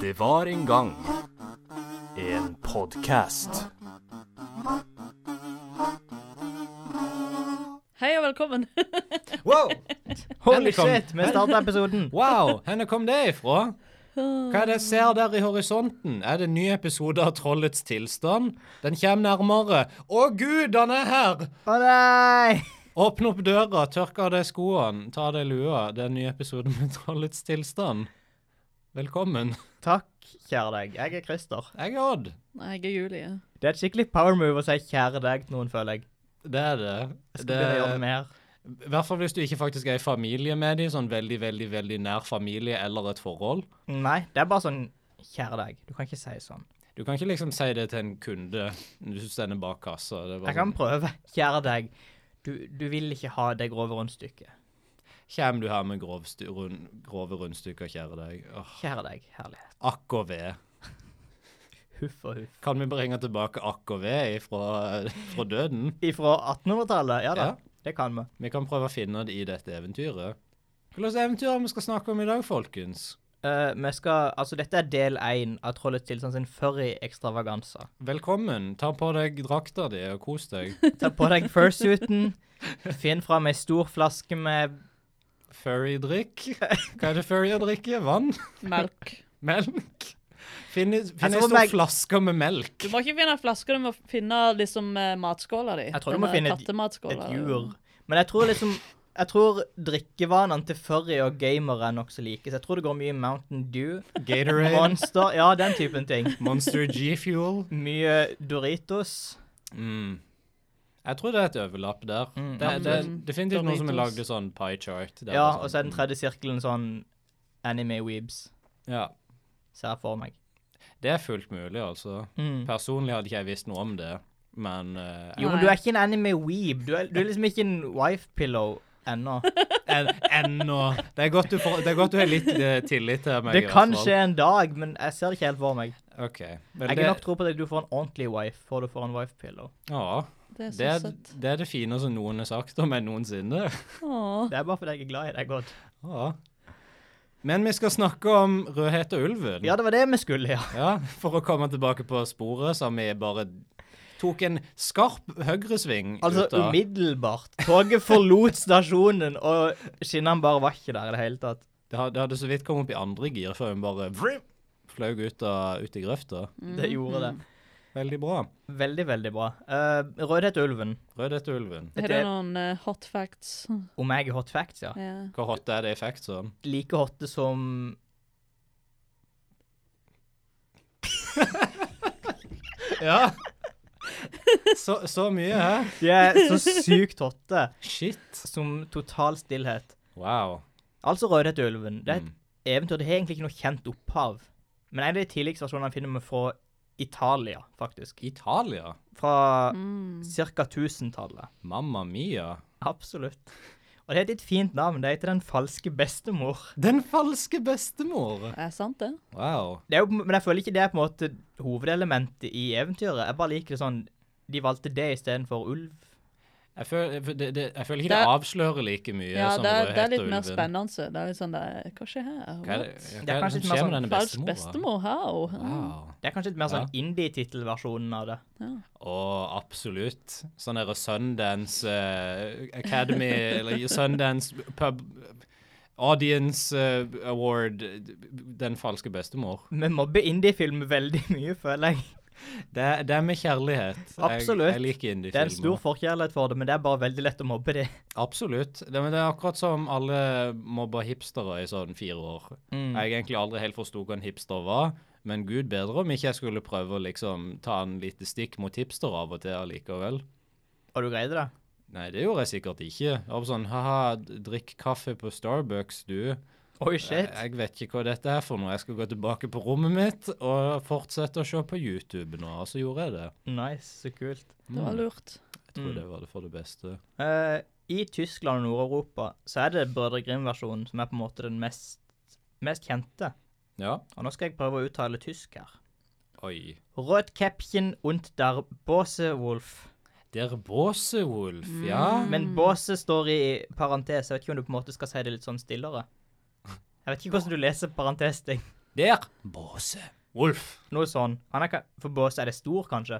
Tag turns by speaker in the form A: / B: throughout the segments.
A: Det var en gang en podkast.
B: Hei og velkommen.
C: Wow!
D: Holy
C: kom-
D: shit, vi starter episoden.
C: Wow, Hvor kom det ifra? Hva er det jeg ser der i horisonten? Er det en ny episode av Trollets tilstand? Den kommer nærmere. Å gud, han er her!
D: Å nei!
C: Åpne opp døra, tørk av deg skoene, ta av deg lua. Det er en ny episode med Trollets tilstand. Velkommen.
D: Takk, kjære deg. Jeg er Christer.
C: Jeg er Odd.
B: Nei, jeg er Julie.
D: Det er et skikkelig power move å si kjære deg til noen, føler jeg.
C: Det er det.
D: Jeg skal
C: det
D: begynne å gjøre det mer.
C: I hvert fall hvis du ikke faktisk er i familie med dem, sånn veldig, veldig, veldig nær familie eller et forhold.
D: Nei, det er bare sånn kjære deg. Du kan ikke si sånn.
C: Du kan ikke liksom si det til en kunde hvis du ender bak kassa. Det er bare
D: Jeg
C: sånn-
D: kan prøve. Kjære deg. Du, du vil ikke ha det grove rundstykket.
C: sånn, Kjem du her med grovstu, rund, grove rundstykker, kjære deg? Åh,
D: Kjære deg. Herlighet.
C: akk og ved.
D: Huff og huff.
C: Kan vi bringe tilbake akk og ved ifra, fra døden?
D: Ifra 1800-tallet? Ja da.
C: Ja.
D: Det kan vi.
C: Vi kan prøve å finne det i dette eventyret. Hva slags eventyr er det vi skal snakke om i dag, folkens?
D: Eh, vi skal, altså Dette er del én av Trollets tilstand sin furry-ekstravaganse.
C: Velkommen. Ta på deg drakta di og kos deg.
D: Ta på deg fursuiten. Finn fram ei stor flaske med
C: Furry-drikk. Hva er det furry å drikke? Vann?
B: Melk.
C: Melk? Finn
D: Jeg
C: i- finn ei
D: tror
C: stor
D: Altså, meg-
C: flaske med melk.
B: Du må ikke finne flasker, du må finne liksom eh, matskåla di.
D: Jeg tror du må finne et- et
B: kattematskåla.
D: jur. Men jeg tror liksom Jeg tror drikkevanene til furry og gamere er nokså like. Så jeg tror det går mye Mountain Dew,
C: Gatorade.
D: Monster Ja, den typen ting.
C: Monster G-Fuel.
D: Mye Doritos.
C: Mm. Jeg tror det er et overlapp der.
D: Mm,
C: det, det, er
B: absolutt.
C: definitivt noen som har
B: Doritos.
C: lagd sånn pie chart. der
D: Ja,
C: sånn,
D: og så er den
C: mm,
D: tredje sirkelen sånn anime weebs,
C: Ja,
D: ser jeg for meg.
C: Det er fullt mulig, altså.
D: Mm.
C: Personlig hadde ikke jeg visst noe om det, men eh,
D: Jo, men du er ikke en anime weeb. Du er, du er liksom ikke en wife pillow ennå.
C: en- ennå det, er godt du får- det er godt du har litt eh, tillit til meg.
D: Det
C: i hvert
D: kan
C: fall.
D: skje en dag, men jeg ser det ikke helt for meg.
C: OK. Men
D: Jeg
C: det,
D: har nok tro på at du får en ordentlig wife før du får en wife pillow.
C: ja,
B: Det er
C: det,
B: så
C: er,
B: søtt.
C: det er det fine som noen har sagt om meg noensinne.
B: Åh.
D: Det er bare fordi jeg er glad i deg, Odd.
C: Ja. Men vi skal snakke om Rødhette og ulven.
D: Ja, det var det vi skulle, ja.
C: Ja, for å komme tilbake på sporet, som vi bare tok en skarp høyresving
D: Altså
C: ut av.
D: umiddelbart. Toget forlot stasjonen, og skinnene bare var ikke der i det hele tatt.
C: Det ha- det hadde så vidt kommet opp i andre gir før hun bare vrim, fløy ut, av, ut i grøfta.
D: Det gjorde
B: Mm.
D: det.
C: Veldig bra.
D: Veldig, veldig bra. Uh, Rødhet og ulven.
C: Rødhette og ulven.
B: Har du
D: Dette er
B: noen eh, hot facts?
D: om jeg er hot facts, ja.
B: Ja.
C: Hvor hot er det i factsen?
D: Like hotte som
C: Ja. Så, så mye, hæ?
D: De er så sykt hotte
C: Shit.
D: som total stillhet.
C: Wow.
D: Altså Rødhet og ulven. Det er
C: Mm.
D: et eventyr. Det har egentlig ikke noe kjent opphav. Men en av de tidligste versjonene finner vi fra Italia, faktisk.
C: Italia?
D: Fra
B: Mm.
D: ca. 1000-tallet.
C: Mamma mia.
D: Absolutt. Og det er et litt fint navn. Det heter Den falske bestemor.
C: Den falske bestemor.
B: Er sant, det?
C: Wow.
D: Det er jo, på- men jeg føler ikke det er på en måte hovedelementet i eventyret. Jeg bare liker det sånn De valgte det istedenfor ulv.
C: Jeg føler, jeg føl- det, det, jeg føler ikke
B: Det er-
C: det avslører like mye
B: Ja,
D: sånn
C: som
B: det er, det er
C: Rødhette og
B: litt mer
C: ulven.
B: spennende. Det er litt sånn det er, Hva skjer her?
C: Hva er det,
B: What?
C: ja,
D: Det
C: hva
D: er
C: er det
D: kanskje
C: som
D: litt mer
C: skjer
D: sånn
C: med denne
B: Falsk
C: bestemora?
B: bestemor? How?
C: Wow.
D: Det er kanskje litt mer sånn
C: Ja.
D: indie-tittelversjonen av det.
C: Å, absolutt. Sånn derre Sundance eh, Academy Eller Sundance Pub Audience eh, Award Den falske bestemor.
D: Vi mobber indie-film veldig mye, føler jeg.
C: Det, er- det er med kjærlighet.
D: Absolutt.
C: Jeg, jeg liker
D: Det er en stor
C: indiefilmer.
D: forkjærlighet for det, men det er bare veldig lett å mobbe det.
C: Absolutt. Det, men det er akkurat som alle mobba hipstere i sånn fire år.
D: Mm.
C: Jeg egentlig aldri helt forsto hva en hipster var. Men gud bedre om ikke jeg skulle prøve å liksom ta en lite stikk mot hipster av og til allikevel.
D: Og du greide det?
C: Nei, det gjorde jeg sikkert ikke. Jeg var sånn ha-ha, drikk kaffe på Starbucks, du.
D: Oi,
C: Jeg,
D: shit.
C: jeg vet ikke hva dette er for noe. Jeg skal gå tilbake på rommet mitt og fortsette å se på YouTube nå. Og så gjorde jeg det. Mm,
D: Nice. Så kult.
B: Det var lurt.
C: Jeg tror
D: Mm.
C: det var det for det beste.
D: Eh, I Tyskland og Nord-Europa så er det Brødre Grim-versjonen som er på en måte den mest, mest kjente.
C: Ja.
D: Og nå skal jeg prøve å uttale tysk her.
C: Oi.
D: Rødkäppchen und der Båsewolf.
C: Der Båsewolf, ja.
B: Mm.
D: Men Båse står i parentes. Jeg vet ikke om du på en måte skal si det litt sånn stillere. Jeg vet ikke hvordan du leser parentes, ting.
C: Der. Båse. Wolf.
D: Noe sånn. Han er, ka- for båse er det stor, kanskje?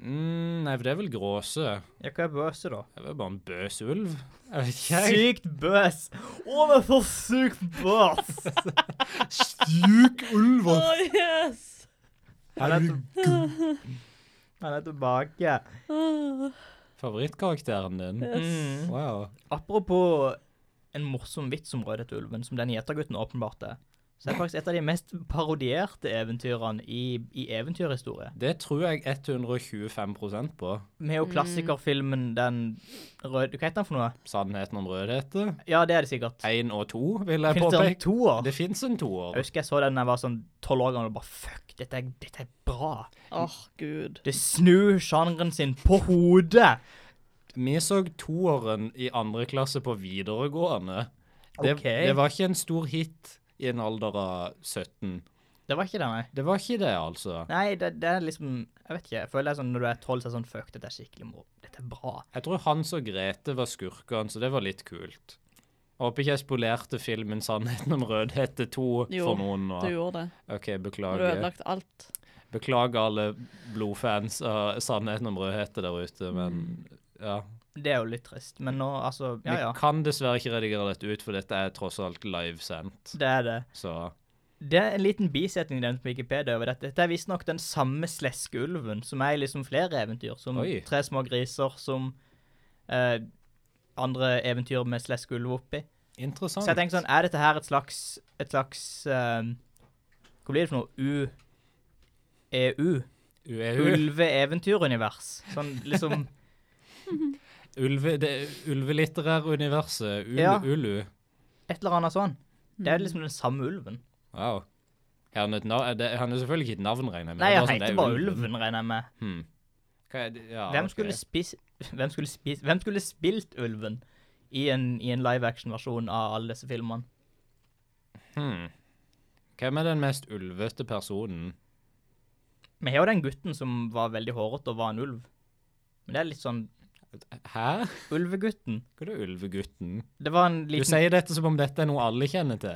C: Mm, nei, for det er vel gråse.
D: Ja, hva er båse, da?
C: Det er vel bare en bøs ulv. Jeg vet ikke. jeg.
D: Sykt bøs! Å, men så sykt bøs!
C: Syk ulv.
B: Å, yes!
D: Han er, til... han er tilbake.
B: Åh.
C: Favorittkarakteren din.
D: Mm.
C: Wow.
D: Apropos en morsom vits om Rødhette og ulven, som den gjetergutten åpenbart er, så er det faktisk et av de mest parodierte eventyrene i, i eventyrhistorie.
C: Det tror jeg 125 på.
D: Med jo klassikerfilmen den røde Hva heter den for noe?
C: Sannheten om rødhete.
D: Ja, det er det sikkert.
C: Én og to, vil jeg
D: Fins det en
C: påpeke.
D: toer?
C: Det fins en
D: Jeg
C: toer.
D: husker jeg så den da jeg var sånn tolv år gammel og bare Fuck, dette er, dette er bra.
B: Åh, gud.
D: Det snur sjangeren sin på hodet.
C: Vi så toeren i andre klasse på videregående. Det,
D: Ok.
C: det var ikke en stor hit i en alder av 17.
D: Det var ikke det, nei.
C: Det var ikke det, altså.
D: Nei, det, det er liksom Jeg vet ikke. Jeg føler det er sånn når du er tolv, så er det sånn Fuck, dette er skikkelig moro. Dette er bra.
C: Jeg tror Hans og Grete var skurkene, så det var litt kult. Jeg håper ikke jeg spolerte filmen 'Sannheten om rødhette 2'
B: Jo,
C: for noen nå.
B: Du gjorde det.
C: OK,
B: Du har
C: beklager.
B: ødelagt alt.
C: Beklager alle blodfans av 'Sannheten om rødhette' der ute,
D: Mm.
B: Mm.
C: men ja.
D: Det er jo litt trist, men nå, altså
C: Vi
D: Ja, ja.
C: kan dessverre ikke redigere dette ut, for dette er tross alt livesendt.
D: Det er det.
C: Så
D: Det er en liten bisetning den på Wikipedia over dette. Dette er visstnok den samme sleskeulven som er i liksom flere eventyr, som
C: Oi.
D: Tre små griser, som eh, andre eventyr med sleskeulv oppi.
C: interessant.
D: Så jeg tenker sånn, er dette her et slags, et slags eh, Hva blir det for noe? U... EU?
C: UEU.
D: Ulveeventyrunivers. Sånn liksom
C: Ulve, det ulvelitterære universet. Ul,
D: Ja.
C: Ulu.
D: et eller annet sånn. Det er liksom den samme ulven.
C: Wow. Er han, et nav er det, han er selvfølgelig ikke et navn, regner jeg med.
D: Nei,
C: Det er
D: han
C: sånn, det
D: heter
C: er
D: bare
C: ulven.
D: Ulven, regner jeg med.
C: Hmm. Hva er det? Ja,
D: Hvem
C: ok.
D: skulle spis... Hvem skulle spis... Hvem skulle spilt Ulven i en, i en live action-versjon av alle disse filmene?
C: hmm. Hvem er den mest ulvete personen?
D: Vi har jo den gutten som var veldig hårete og var en ulv. Men det er litt sånn
C: Hæ?
D: Ulvegutten.
C: Hva er det ulvegutten?
D: Det var en
C: Du
D: liten
C: sier dette som om dette er noe alle kjenner til.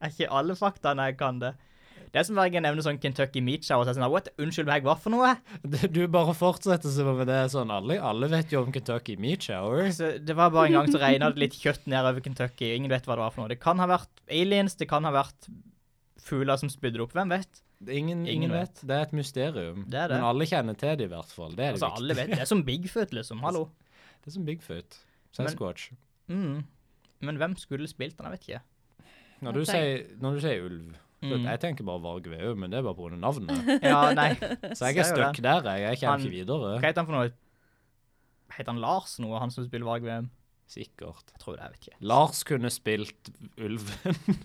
D: Er ikke alle faktaene jeg kan det? Det er som hver gang jeg nevner sånn Kentucky Meat Shower, så er jeg sånn What? Unnskyld meg, hva for noe?
C: Du du bare fortsetter som om det er sånn. Alle, alle vet jo om Kentucky Meat Shower.
D: Så det var bare en gang så regna det litt kjøtt nedover Kentucky, og ingen vet hva det var for noe. Det kan ha vært aliens, det kan ha vært fugler som spydde det opp, hvem vet?
C: Ingen, ingen,
D: Ingen
C: vet. Det er et mysterium.
D: Det er det.
C: Men alle kjenner til det i hvert fall. Det er det
D: Altså, alle
C: viktige.
D: vet. Det er som Bigfoot, liksom. Hallo.
C: Det er som Bigfoot. Sasquatch.
D: Mm. Men hvem skulle spilt den? Jeg vet ikke.
C: Når du,
B: Ok.
C: sier, når du sier ulv så-
D: Mm.
C: Jeg tenker bare Varg Veum, men det er bare pga. navnet.
D: Ja, nei.
C: Så jeg er
D: Ser jo
C: stuck der. Jeg, jeg
D: Han-
C: kommer ikke videre.
D: Hva heter han for noe? Heter han Lars noe, han som spiller Varg VM?
C: Sikkert.
D: Jeg tror det, jeg vet ikke.
C: Lars kunne spilt ulven.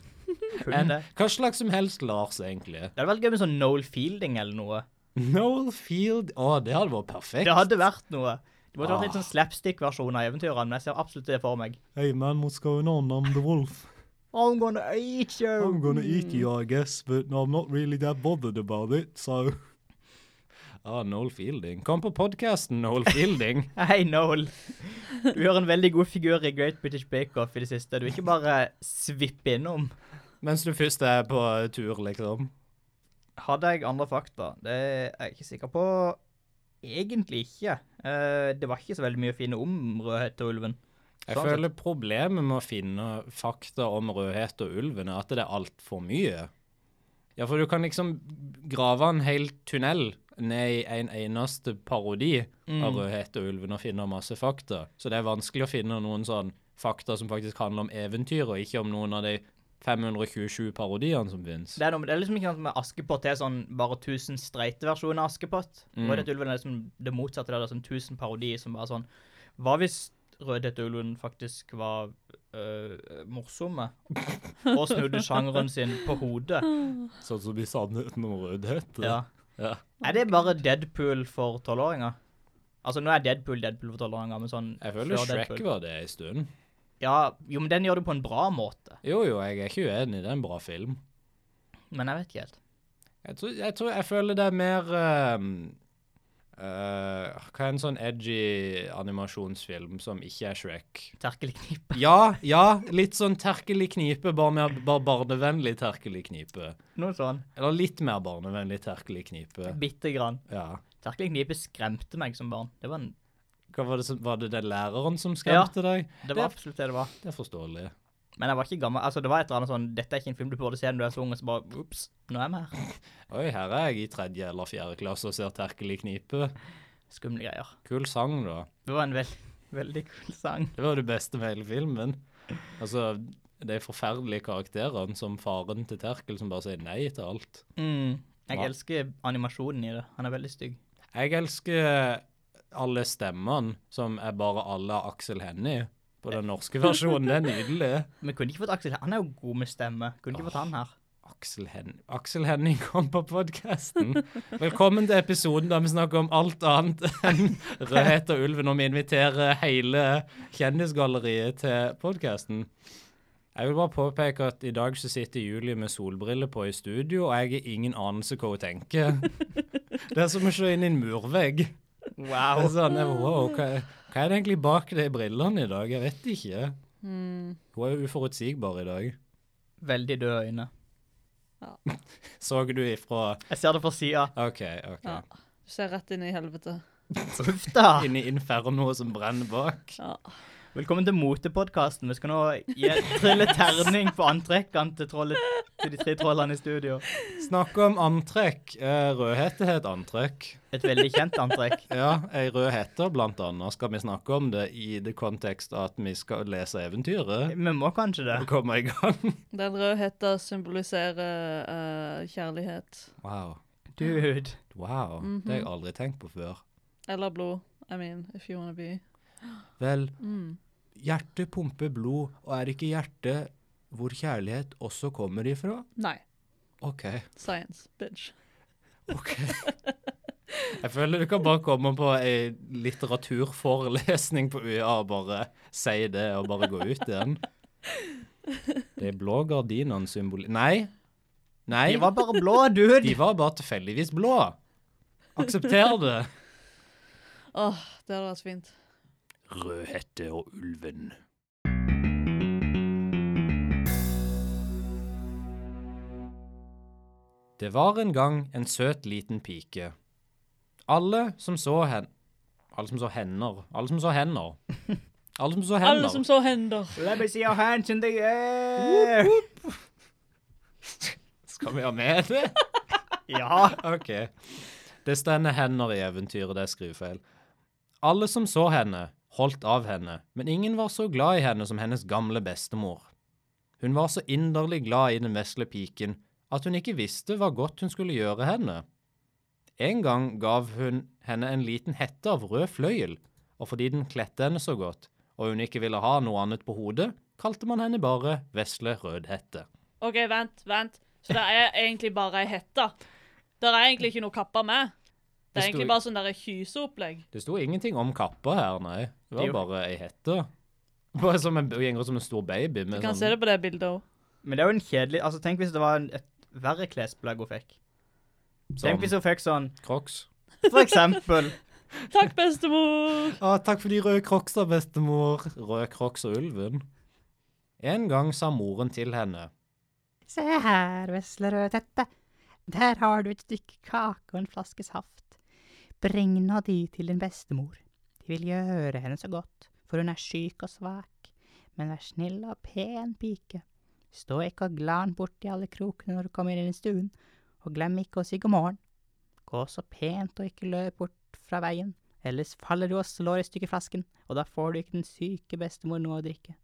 D: Kunne det?
C: Hva slags som helst Lars, egentlig.
D: Det hadde vært gøy med sånn Noel Fielding eller noe.
C: Noel Field Å, det hadde vært perfekt.
D: Det hadde vært noe. Det måtte vært litt
C: Ah.
D: sånn slapstick-versjon av eventyrene, men jeg ser absolutt det for meg.
E: Hey man, what's going on? I'm the wolf.
D: I'm gonna eat you!
E: I'm gonna eat you, I guess, but I'm not really that bothered about it, so.
C: Ah, Noel Fielding. Kom på podkasten, Noel Fielding.
D: Hei, Noel. Du gjør en veldig god figur i Great British Bake Off i det siste. Du er ikke bare svippe innom.
C: Mens du først er på tur, liksom.
D: Hadde jeg andre fakta? Det er jeg ikke sikker på. Egentlig ikke. Eh, det var ikke så veldig mye å finne om Rødhette og ulven.
C: Jeg
D: Sånn
C: føler problemet med å finne fakta om rødhet og ulven er at det er altfor mye. Ja, for du kan liksom grave en hel tunnel ned i en eneste parodi
D: Mm.
C: av rødhet og ulven og finne masse fakta. Så det er vanskelig å finne noen sånn fakta som faktisk handler om eventyr, og ikke om noen av de 527 parodiene som finnes.
D: Det er, noe, det er liksom ikke sant med Askepott er sånn bare 1000 streite versjoner av Askepott.
C: Mm.
D: Rødhette og ulven er liksom det motsatte. Det er sånn 1000 parodier som bare sånn Hva hvis Rødhette og ulven faktisk var øh, morsomme? Og snudde sjangeren sin på hodet?
E: Sånn som i sannheten om eh. rødhette.
D: Ja.
C: Ja.
D: Er det bare Deadpool for tolvåringer? Altså, nå er Deadpool Deadpool for tolvåringer, men sånn
C: Jeg føler
D: før
C: Shrek
D: Deadpool.
C: var det en stund.
D: Ja, jo, men den gjør det på en bra måte.
C: Jo, jo, jeg er ikke uenig. Det er en bra film.
D: Men jeg vet ikke helt.
C: Jeg tror jeg, tror, jeg føler det er mer ehm, Eh, hva er en sånn edgy animasjonsfilm som ikke er Shrek?
D: Terkelknipe.
C: Ja, ja, litt sånn terkel i knipe, bare, mer, bare barnevennlig terkel i knipe.
D: Noe sånn.
C: Eller litt mer barnevennlig terkel i knipe.
D: Bitte grann.
C: Ja.
D: Terkelknipe skremte meg som barn. Det var, en,
C: Hva var det som, var det den læreren som skremte deg?
D: det var absolutt det det var.
C: Det er forståelig.
D: Men jeg var ikke gammel. Altså, det var et eller annet sånn Dette er ikke en film du burde se når du er så ung, og så bare Ops, nå er vi her.
C: Oi, her er jeg i tredje eller fjerde klasse og ser terkel i knipe.
D: Skumle greier.
C: Kul sang, da.
D: Det var en veld, veldig kul sang.
C: Det var det beste med hele filmen. Altså, de forferdelige karakterene som faren til Terkel som bare sier nei til alt.
D: Mm. Jeg
C: Ja.
D: elsker animasjonen i det. Han er veldig stygg.
C: Jeg elsker alle stemmene som er bare alle Aksel Hennie på den norske versjonen. Det er nydelig.
D: Men kunne ikke fått Aksel her. Han er jo god med stemme. Kunne ikke fått han her.
C: Aksel, Hen Aksel Henning kom på podkasten. Velkommen til episoden der vi snakker om alt annet enn Rødhet og ulven, og vi inviterer hele kjendisgalleriet til podkasten. Jeg vil bare påpeke at i dag så sitter Julie med solbriller på i studio, og jeg har ingen anelse hva hun tenker. Det er som å se inn i en murvegg. Det
D: Wow.
C: er sånn, wow, hva, hva er det egentlig bak de brillene i dag? Jeg vet ikke. Hun er jo uforutsigbar i dag.
D: Veldig døde øyne.
C: Så du ifra
D: Jeg ser det fra sida.
C: OK, OK.
B: Ja. Du ser rett inn i helvete.
D: Uff da.
C: inni infernoet som brenner bak.
B: Ja.
D: Velkommen til Motepodkasten. Vi skal nå gi trille terning på antrekkene til, trollet, til de tre trollene i studio.
C: Snakke om antrekk. Eh, Rødhette het antrekk.
D: Et veldig kjent antrekk.
C: Ja, ei rød hette, blant annet, skal vi snakke om det i det kontekst at vi skal lese eventyret.
D: Vi må kanskje det.
C: Og komme i gang.
B: Den røde hetta symboliserer eh, kjærlighet.
C: Wow.
D: Dude.
C: Wow. Det har jeg aldri tenkt på før.
B: Eller blod. I mean, if you wanna be.
C: Vel, hjertet pumper blod, og er ikke hjertet hvor kjærlighet også kommer ifra?
B: Nei.
C: OK.
B: Science, bitch.
C: OK. Jeg føler du kan bare komme på ei litteraturforelesning på UiA og bare si det, og bare gå ut igjen. De blå gardinene symbol... Nei. Nei.
D: De var bare blå, dude.
C: De var bare tilfeldigvis blå. Aksepter det.
B: Åh, det hadde vært fint.
A: Rødhette og ulven.
C: Det var en gang en søt liten pike. Alle som så hen... Alle som så hender. Alle som så hender. Alle som så hender.
B: Alle som så hender.
D: Let me see your hands in the air.
C: Skal vi ha med det?
D: Ja.
C: OK. Det stender hender i eventyret, det er skrivefeil. Alle som så henne, holdt av henne, men ingen var så glad i henne som hennes gamle bestemor. Hun var så inderlig glad i den vesle piken at hun ikke visste hva godt hun skulle gjøre henne. En gang gav hun henne en liten hette av rød fløyel, og fordi den kledde henne så godt, og hun ikke ville ha noe annet på hodet, kalte man henne bare Vesle Rødhette.
B: OK, vent, vent. Så det er egentlig bare ei hette. Det er egentlig ikke noe kappa med. Det er
C: Det sto
B: egentlig
C: i-
B: bare sånn derre kyseopplegg.
C: Det sto ingenting om kappa her, nei.
D: Det er
C: Det var
D: jo-
C: bare ei hette. Bare som en, hun gjenger som en stor baby.
B: Du
C: Med
B: kan
C: sånn,
B: se det på det bildet òg.
D: Men det er jo en kjedelig Altså, tenk hvis det var en, et verre klesplagg hun fikk.
C: som
D: Tenk hvis hun fikk sånn,
C: Crocs.
D: for eksempel.
B: Takk, bestemor.
C: Ah, takk for de røde crocsa, bestemor. Røde crocs og ulven. En gang sa moren til henne.
F: Se her, vesle rødhette. Der har du et stykke kake og en flaske saft. Bring nå de til din bestemor. De vil gjøre henne så godt, for hun er syk og svak. Men vær snill og pen pike. Stå ikke og gla den bort i alle krokene når du kommer inn i stuen, og glem ikke å si god morgen. Gå så pent og ikke løp bort fra veien, ellers faller du og slår i stykker flasken, og da får du ikke den syke bestemor noe å drikke.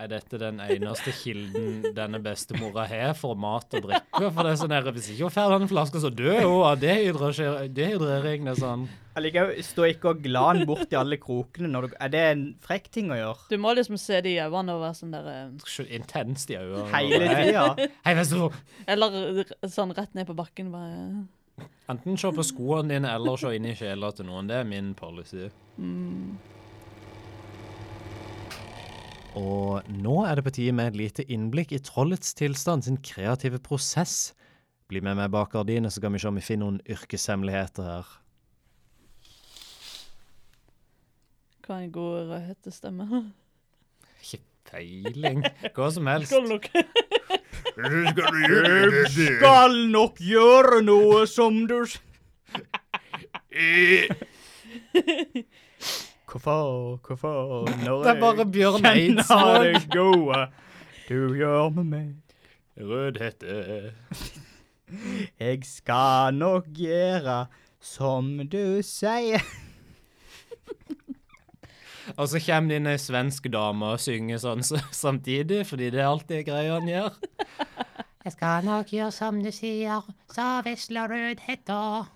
C: Er dette den eneste kilden denne bestemora har for mat og drikke? For det er sånn her, Hvis ikke hun får den flaska, så dør hun av dehydrasje- dehydrering. Det er sånn.
D: Jeg liker jo stå ikke og gla den bort i alle krokene når du Er det en frekk ting å gjøre?
B: Du må liksom se det i øynene og være sånn derre
C: så Intenst i øynene.
D: Hele tida.
C: Hei, bestemor!
B: Eller r- sånn rett ned på bakken, bare
C: Enten se på skoene dine eller se inn i sjela til noen. Det er min policy. Og nå er det på tide med et lite innblikk i trollets tilstand, sin kreative prosess. Bli med meg bak gardinet, så kan vi se om vi finner noen yrkeshemmeligheter her.
B: Hva er en god rødhetestemme?
C: Ikke peiling. Hva som helst.
B: Skal nok
D: Skal nok gjøre noe som du s- Hvorfor, hvorfor, når
C: Det er bare Bjørn
D: jeg kjenner
C: Eidsvåg.
D: det gode du gjør med meg.
C: Rødhette.
D: Jeg skal nok gjøre som du sier.
C: Og så kommer det inn ei svensk dame og synger sånn s- samtidig, fordi det er alltid greia han gjør.
F: Jeg skal nok gjøre som du sier, sa vesla rødhetta.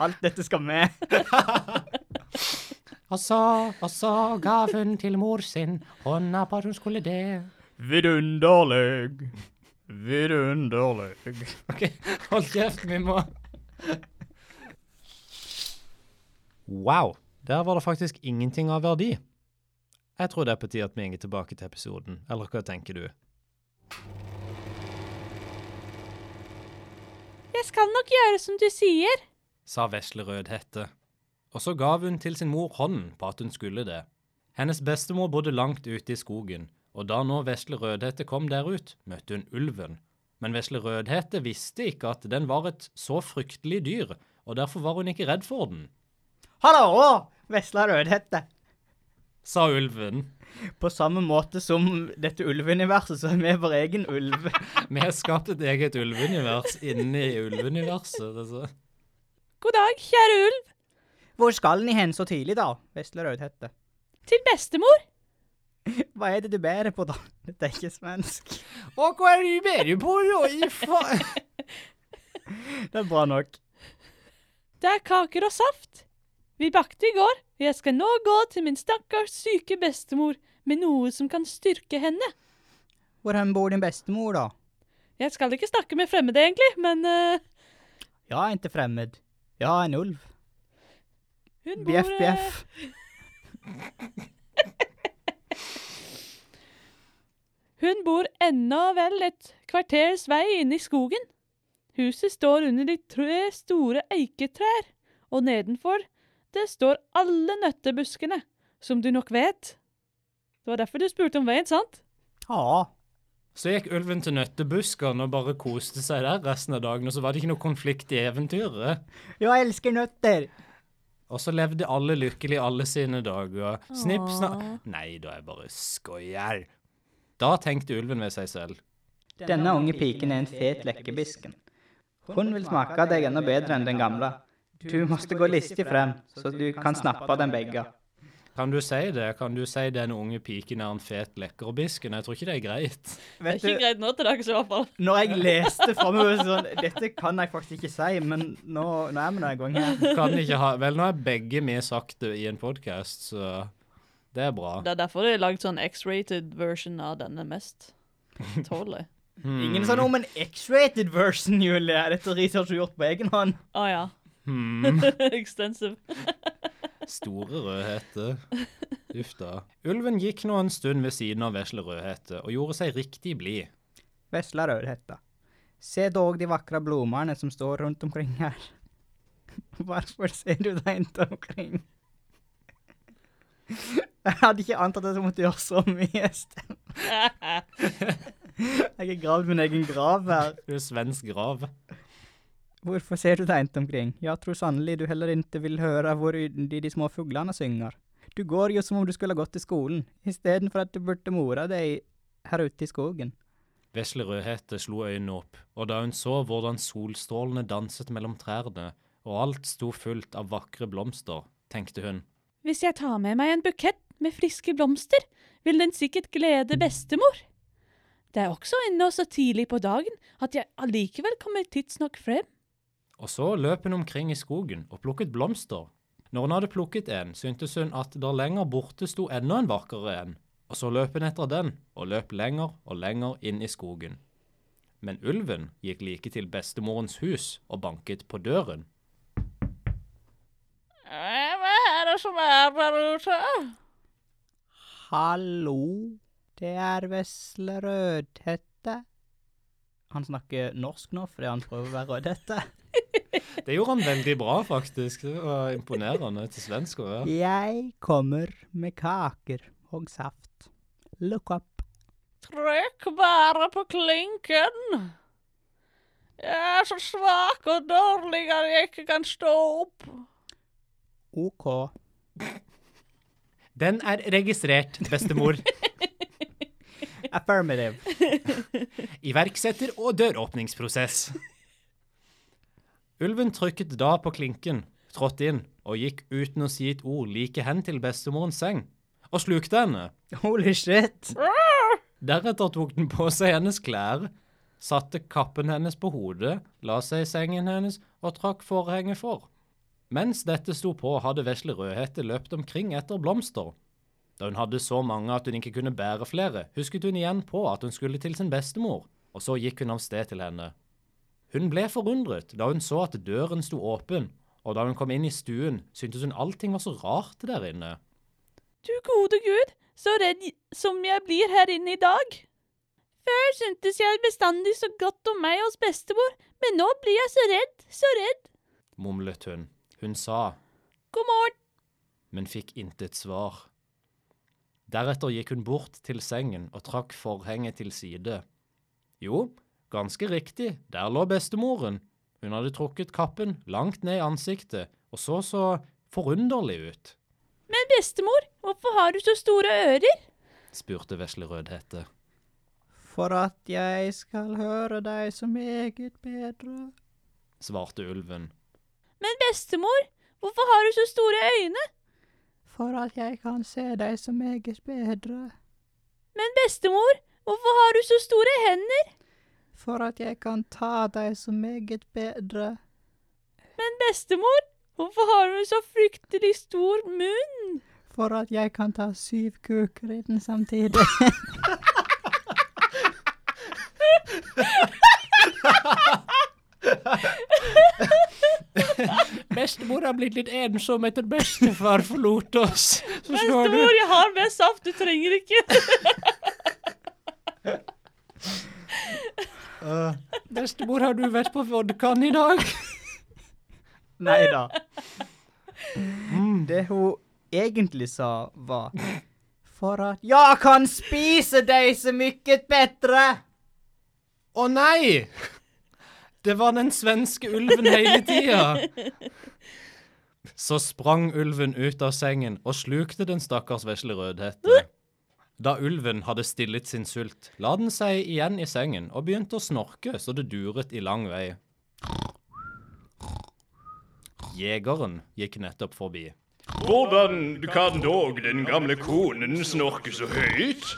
D: Alt dette skal med.
F: Og så, og så gav hun til mor sin hånda på at hun skulle det.
D: Vidunderlig. Vidunderlig.
C: OK, hold kjeft, vi må Wow. Der var det faktisk ingenting av verdi. Jeg tror det er på tide at vi går tilbake til episoden. Eller hva tenker du?
B: Jeg skal nok gjøre som du sier.
C: sa vesle Rødhette. Og så gav hun til sin mor hånden på at hun skulle det. Hennes bestemor bodde langt ute i skogen, og da nå vesle Rødhette kom der ut, møtte hun ulven. Men vesle Rødhette visste ikke at den var et så fryktelig dyr, og derfor var hun ikke redd for den,
D: Hallo, vesla rødhette.
C: sa ulven.
D: På samme måte som dette ulveuniverset, så er vi vår egen ulv.
C: Vi har skapt et eget ulveunivers inni ulveuniverset. altså.
B: God dag, kjære ulv.
D: Hvor skal ni hen så tidlig, da? Vesla rødhette.
B: Til bestemor.
D: Hva er det du bærer på, da? Dette er ikke svensk.
C: Å, hva er det du mener på, da? I faen?
D: Det er bra nok.
B: Det er kaker og saft. Vi bakte i går. og Jeg skal nå gå til min stakkars syke bestemor med noe som kan styrke henne.
D: Hvor hen bor din bestemor, da?
B: Jeg skal ikke snakke med fremmede, egentlig, men eh,
D: Ja, en til fremmed. Ja, en ulv.
B: hun bor
D: Bjeff,
B: eh,
D: bjeff.
B: Hun bor ennå vel et kvarters vei inne i skogen. Huset står under de tre store eiketrær, og nedenfor det står alle nøttebuskene, som du nok vet. Det var derfor du spurte om veien, sant?
D: Ja.
C: Så gikk ulven til nøttebuskene og bare koste seg der resten av dagen, og så var det ikke noe konflikt i eventyret.
D: Jeg elsker nøtter.
C: Og så levde alle lykkelig alle sine dager. Snipp, snakk
B: Åh.
C: Nei, da er jeg bare skoier. Da tenkte ulven ved seg selv.
D: Denne unge piken er en fet lekkebisken. Hun vil smake deg enda bedre enn den gamle. Du måtte gå listig frem, så du kan snappe den begge.
C: Kan du si det? Kan du si den unge piken er en fet lekkerbisken? Jeg tror ikke det er greit.
B: Det er ikke greit nå til dags, i hvert fall.
D: når jeg leste framover sånn Dette kan jeg faktisk ikke si, men nå, nå er vi nå en gang her.
C: Kan ikke ha Vel, nå har begge vi sagt det i en podkast, så det er bra.
B: Det er derfor det er lagd sånn X-rated version av denne mest. Tåler.
C: Hmm,
D: Ingen sa noe om en X-rated version, Julie. Dette er research du har gjort på egen hånd.
B: Å ja.
C: Hmm.
B: Extensive.
C: Store rødhete. Uff da. Ulven gikk nå en stund ved siden av vesle rødhete og gjorde seg riktig blid.
D: Vesla Rødhetta. Se dog de vakre blomstene som står rundt omkring her. Hvorfor ser du deg rundt omkring? Jeg hadde ikke antatt at jeg måtte gjøre så mye. Sten. Jeg har gravd min egen grav her.
C: Det er svensk grav.
D: Hvorfor ser du deg rundt omkring? Jeg tror sannelig du heller ikke vil høre hvor yndig de små fuglene synger. Du går jo som om du skulle ha gått til skolen, istedenfor at du burde more deg her ute i skogen.
C: Vesle Rødhette slo øynene opp, og da hun så hvordan solstrålene danset mellom trærne, og alt sto fullt av vakre blomster, tenkte hun.
B: Hvis jeg tar med meg en bukett med friske blomster, vil den sikkert glede bestemor. Det er også ennå så tidlig på dagen at jeg allikevel kommer tidsnok frem.
C: Og så løp hun omkring i skogen og plukket blomster. Når hun hadde plukket en, syntes hun at der lenger borte sto enda en vakrere en, og så løp hun etter den, og løp lenger og lenger inn i skogen. Men ulven gikk like til bestemorens hus og banket på døren.
B: Hva er det som er der ute?
D: Hallo, det er Vesle Rødhette. Han snakker norsk nå fordi han prøver å være rødhette.
C: Det gjorde han veldig bra, faktisk. Det var imponerende til svensk å være.
D: Jeg kommer med kaker og saft. Look up.
B: Trykk bare på klinken. Jeg er så svak og dårlig at jeg ikke kan stå opp.
D: OK.
C: Den er registrert, bestemor.
D: Affirmative.
C: Iverksetter og døråpningsprosess. Ulven trykket da på klinken, trådte inn og gikk uten å si et ord like hen til bestemorens seng, og slukte henne.
D: Holy shit.
C: Deretter tok den på seg hennes klær, satte kappen hennes på hodet, la seg i sengen hennes og trakk forhenget for. Mens dette sto på, hadde vesle Rødhette løpt omkring etter blomster. Da hun hadde så mange at hun ikke kunne bære flere, husket hun igjen på at hun skulle til sin bestemor, og så gikk hun av sted til henne. Hun ble forundret da hun så at døren sto åpen, og da hun kom inn i stuen, syntes hun allting var så rart der inne.
B: Du gode gud, så redd som jeg blir her inne i dag. Før syntes jeg bestandig så godt om meg hos bestemor, men nå blir jeg så redd, så redd.
C: mumlet hun. Hun sa
B: God morgen.
C: men fikk intet svar. Deretter gikk hun bort til sengen og trakk forhenget til side. Jo, ganske riktig, der lå bestemoren. Hun hadde trukket kappen langt ned i ansiktet og så så forunderlig ut,
B: Men bestemor, hvorfor har du så store ører?
C: spurte vesle Rødhette.
D: For at jeg skal høre deg så meget bedre.
C: Svarte ulven.
B: Men bestemor, hvorfor har du så store øyne?
D: For at jeg kan se deg så meget bedre.
B: Men bestemor, hvorfor har du så store hender?
D: For at jeg kan ta deg så meget bedre.
B: Men bestemor, hvorfor har du så fryktelig stor munn?
D: For at jeg kan ta syv kuker i den samtidig.
C: Bestemor har blitt litt ensom etter bestefar forlot oss. Så
B: Bestemor, jeg har mer saft, du trenger ikke.
C: Bestemor, har du vært på vodkaen i dag?
D: Nei da. Mm. Det hun egentlig sa, var For at jeg kan spise deg så mye bedre!
C: Å nei! Det var den svenske ulven hele tida. Så sprang ulven ut av sengen og slukte den stakkars vesle rødhette. Da ulven hadde stillet sin sult, la den seg igjen i sengen og begynte å snorke så det duret i lang vei. Jegeren gikk nettopp forbi.
G: Hvordan kan dog den gamle konen snorke så høyt?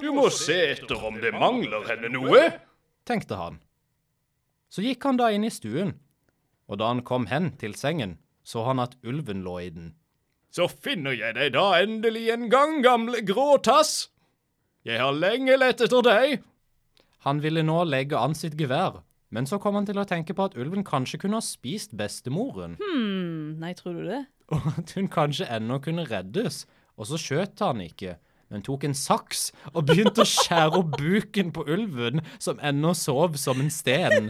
G: Du må se etter om det mangler henne noe.
C: tenkte han. Så gikk han da inn i stuen, og da han kom hen til sengen, så han at ulven lå i den.
G: Så finner jeg deg da endelig en gang, gamle grå tass. Jeg har lenge lett etter deg.
C: Han ville nå legge an sitt gevær, men så kom han til å tenke på at ulven kanskje kunne ha spist bestemoren,
B: Hmm, nei, tror du det?
C: og at hun kanskje ennå kunne reddes. Og så skjøt han ikke, men tok en saks og begynte å skjære opp buken på ulven, som ennå sov som en sten.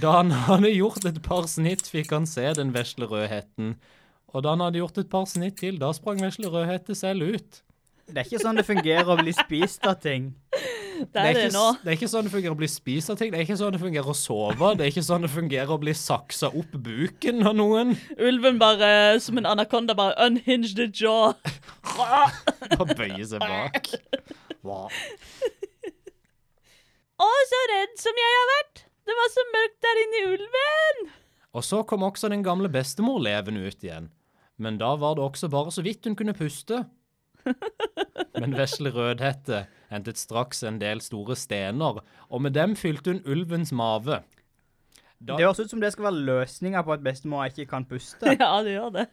C: Da han hadde gjort et par snitt, fikk han se den vesle rødheten. Og da han hadde gjort et par snitt til, da sprang vesle rødhette selv ut.
D: Det er ikke sånn det fungerer å bli spist av ting.
B: Det er det
C: ikke,
B: nå.
C: s- det er ikke sånn det fungerer å bli spist av ting. Det er ikke sånn det fungerer å sove. Det er ikke sånn det fungerer å bli saksa opp buken av noen.
B: Ulven bare, eh, som en anakonda, bare unhinged the jaw.
C: Bare bøye seg bak.
B: Å, så redd som jeg har vært! Det var så mørkt der inne i ulven!
C: Og så kom også den gamle bestemor levende ut igjen. Men da var det også bare så vidt hun kunne puste. Men vesle Rødhette hentet straks en del store stener, og med dem fylte hun ulvens mave. Da-
D: Det høres ut som det skal være løsninga på at bestemor ikke kan puste.
B: Ja, det gjør det.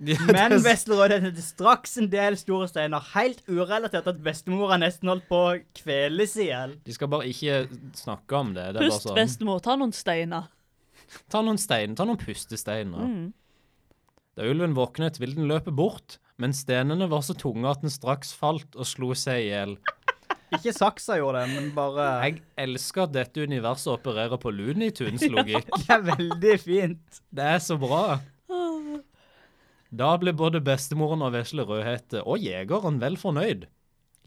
D: Men Veslerød hentet straks en del store steiner, helt urelatert at bestemora nesten holdt på å kveles i hjel.
C: De skal bare ikke snakke om det. det er
B: Pust,
C: bare sånn.
B: bestemor, ta noen steiner.
C: Ta noen stein, ta noen pustesteiner. Da ulven våknet, ville den løpe bort, men stenene var så tunge at den straks falt og slo seg i hjel.
D: Ikke saksa gjorde det, men bare
C: Jeg elsker at dette universet opererer på Lunitunes-logikk.
D: Det er veldig fint.
C: Det er så bra. Da ble både bestemoren og vesle Rødhette og jegeren vel fornøyd.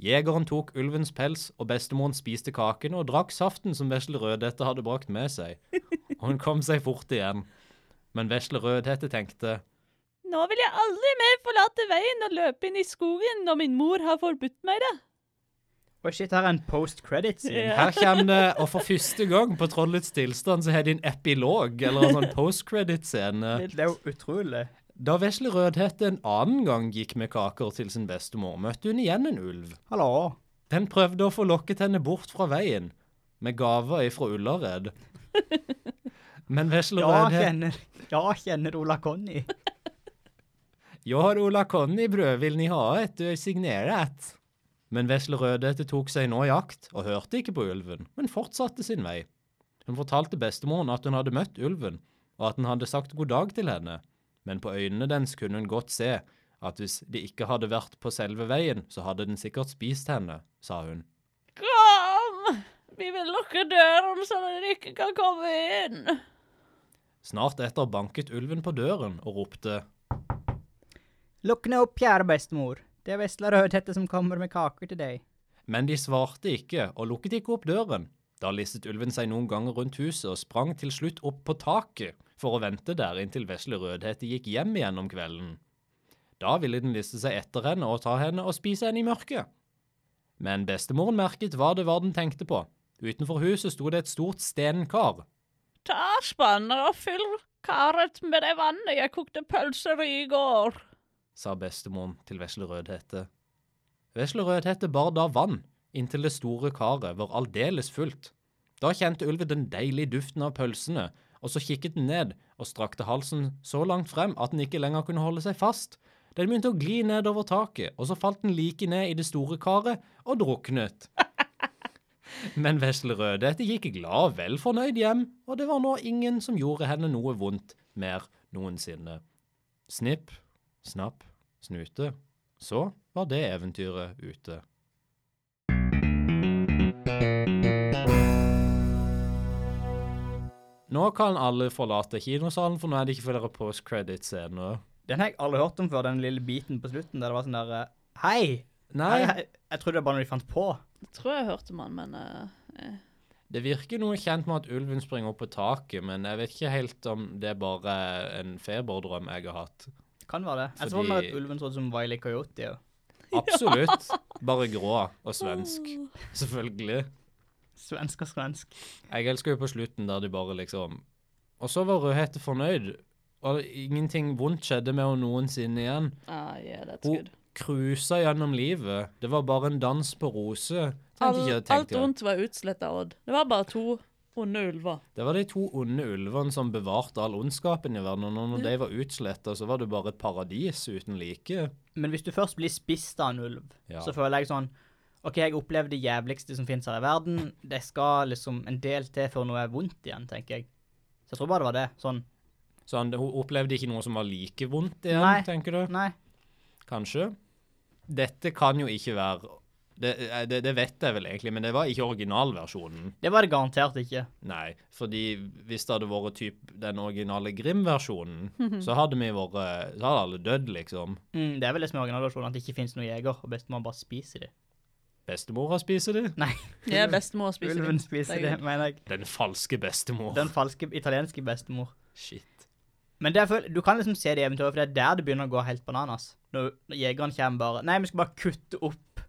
C: Jegeren tok ulvens pels, og bestemoren spiste kaken og drakk saften som vesle Rødhette hadde brakt med seg. Og hun kom seg fort igjen. Men vesle Rødhette tenkte
B: Nå vil jeg aldri mer forlate veien og løpe inn i skogen når min mor har forbudt meg det.
D: Oi, shit, her er en post credit-scene.
C: Her kommer det, og for første gang på Trollets tilstand, så har de en epilog, eller en sånn post-credit-scene.
D: Det er jo utrolig.
C: Da vesle Rødhette en annen gang gikk med kaker til sin bestemor, møtte hun igjen en ulv.
D: Hallo.
C: Den prøvde å få lokket henne bort fra veien, med gaver ifra Ullared. Men vesle
D: Ja,
C: Rødhette
D: kjenner, ja, kjenner Ola Conny.
C: Ja, Ola Conny brød vil ni ha et, du signerer et. Men vesle Rødhette tok seg nå i akt, og hørte ikke på ulven, men fortsatte sin vei. Hun fortalte bestemoren at hun hadde møtt ulven, og at den hadde sagt god dag til henne, men på øynene dens kunne hun godt se at hvis de ikke hadde vært på selve veien, så hadde den sikkert spist henne, sa hun.
B: Kom! Vi vil lukke døren så dere ikke kan komme inn.
C: Snart etter banket ulven på døren og ropte
D: Lukk nå opp, kjære bestemor. Det er vesla Rødhette som kommer med kaker til deg.
C: Men de svarte ikke, og lukket ikke opp døren. Da listet ulven seg noen ganger rundt huset og sprang til slutt opp på taket for å vente der inntil vesle Rødhette gikk hjem igjen om kvelden. Da ville den liste seg etter henne og ta henne og spise henne i mørket. Men bestemoren merket hva det var den tenkte på. Utenfor huset sto det et stort stenkar.
B: Ta spanner og fyll karet med det vannet jeg kokte pølser i i går.
C: sa bestemoren til vesle Rødhette. Vesle Rødhette bar da vann inntil det store karet var aldeles fullt. Da kjente ulven den deilige duften av pølsene, og så kikket den ned og strakte halsen så langt frem at den ikke lenger kunne holde seg fast. Den begynte å gli nedover taket, og så falt den like ned i det store karet og druknet. Men vesle Rødhette gikk glad og vel fornøyd hjem, og det var nå ingen som gjorde henne noe vondt mer noensinne. Snipp, snapp, snute. Så var det eventyret ute. Nå kan alle forlate kinosalen, for nå er det ikke flere post-credit-scener.
D: Den har jeg aldri hørt om før, den lille biten på slutten der det var sånn der eh, Hei!
C: Nei,
D: Hei, hei. Jeg trodde det var noe de fant på.
B: Jeg tror jeg hørte om han, men eh,
C: det virker noe kjent med at ulven springer opp på taket, men jeg vet ikke helt om det er bare en feberdrøm jeg har hatt.
D: Kan være det. Jeg så
C: Fordi-
D: for meg at ulven så ut som Wiley Coyote. jo.
C: Absolutt. Bare grå og svensk. Selvfølgelig.
D: Svensk og svensk.
C: Jeg elsker jo på slutten der de bare liksom Og så var Rødhette fornøyd, og ingenting vondt skjedde med henne noensinne igjen.
B: ah, yeah, that's
C: Hun
B: good.
C: cruisa gjennom livet. Det var bare en dans på roser.
B: All,
C: Tenkte ikke jeg
B: alt
C: tenkte jeg.
B: vondt var utsletta, Odd. Det var bare to onde ulver.
C: Det var de to onde ulvene som bevarte all ondskapen i verden, og når de var utsletta, så var det bare et paradis uten like.
D: Men hvis du først blir spist av en ulv,
C: Ja.
D: så føler jeg sånn OK, jeg opplever det jævligste som finnes her i verden. Det skal liksom en del til før noe er vondt igjen, tenker jeg. Så jeg tror bare det var det. Sånn
C: Så han, hun opplevde ikke noe som var like vondt igjen,
D: Nei.
C: tenker du?
D: Nei.
C: Kanskje? Dette kan jo ikke være det, eh, det, det vet jeg vel egentlig, men det var ikke originalversjonen.
D: Det var det garantert ikke.
C: Nei, fordi hvis det hadde vært typ den originale Grim-versjonen, så hadde vi vært Så hadde alle dødd, liksom.
D: Mm, det er vel det som er originalversjonen, at det ikke finnes noen jeger, og bestemor bare spiser de.
C: Bestemora spiser de.
D: Nei,
B: Jeg er bestemor og spiser
D: ulven
B: det.
D: spiser
B: Det
D: de,
B: er
D: mener jeg.
C: Den falske bestemor.
D: Den falske italienske bestemor.
C: Shit.
D: Men det er føl- du kan liksom se det i eventyret, for det er der det begynner å gå helt bananas. Når, når jegeren kommer bare Nei, vi skal bare kutte opp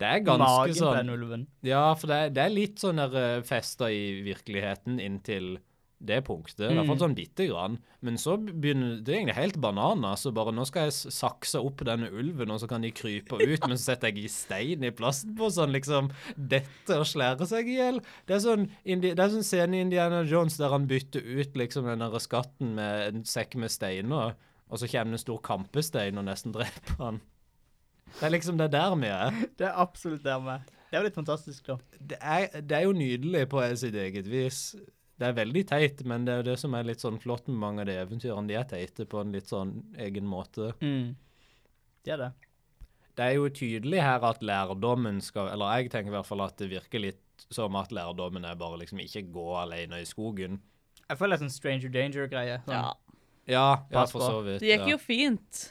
C: Det er ganske
D: magen på den
C: sånn
D: ulven.
C: Ja, for det, er- det er litt sånn der festa i virkeligheten inntil det punktet. I hvert fall sånn bitte grann. Men så begynner det er egentlig helt bananas. Og bare nå skal jeg s- sakse opp denne ulven, og så kan de krype ut, men så setter jeg i stein i plastposen, liksom. Dette og slære seg i hjel. Det er sånn, indi, det er sånn scene i Indiana Jones der han bytter ut liksom den der skatten med en sekk med steiner, og så kommer det en stor kampestein og nesten dreper han. Det er liksom det der vi er
D: Det er absolutt der med. Det er jo litt fantastisk, da.
C: det er, det er jo nydelig på sitt eget vis. Det er veldig teit, men det er jo det som er litt sånn flott med mange av de eventyrene. De er teite på en litt sånn egen måte.
D: Mm. Det er det.
C: det er jo tydelig her at lærdommen skal Eller jeg tenker i hvert fall at det virker litt som at lærdommen er bare liksom ikke gå alene i skogen.
D: Jeg føler det er sånn Stranger Danger-greie. Sånn.
B: Ja.
C: Ja, ja
D: Pass
C: for
D: på.
C: så vidt.
B: Det gikk
C: ja.
B: jo fint,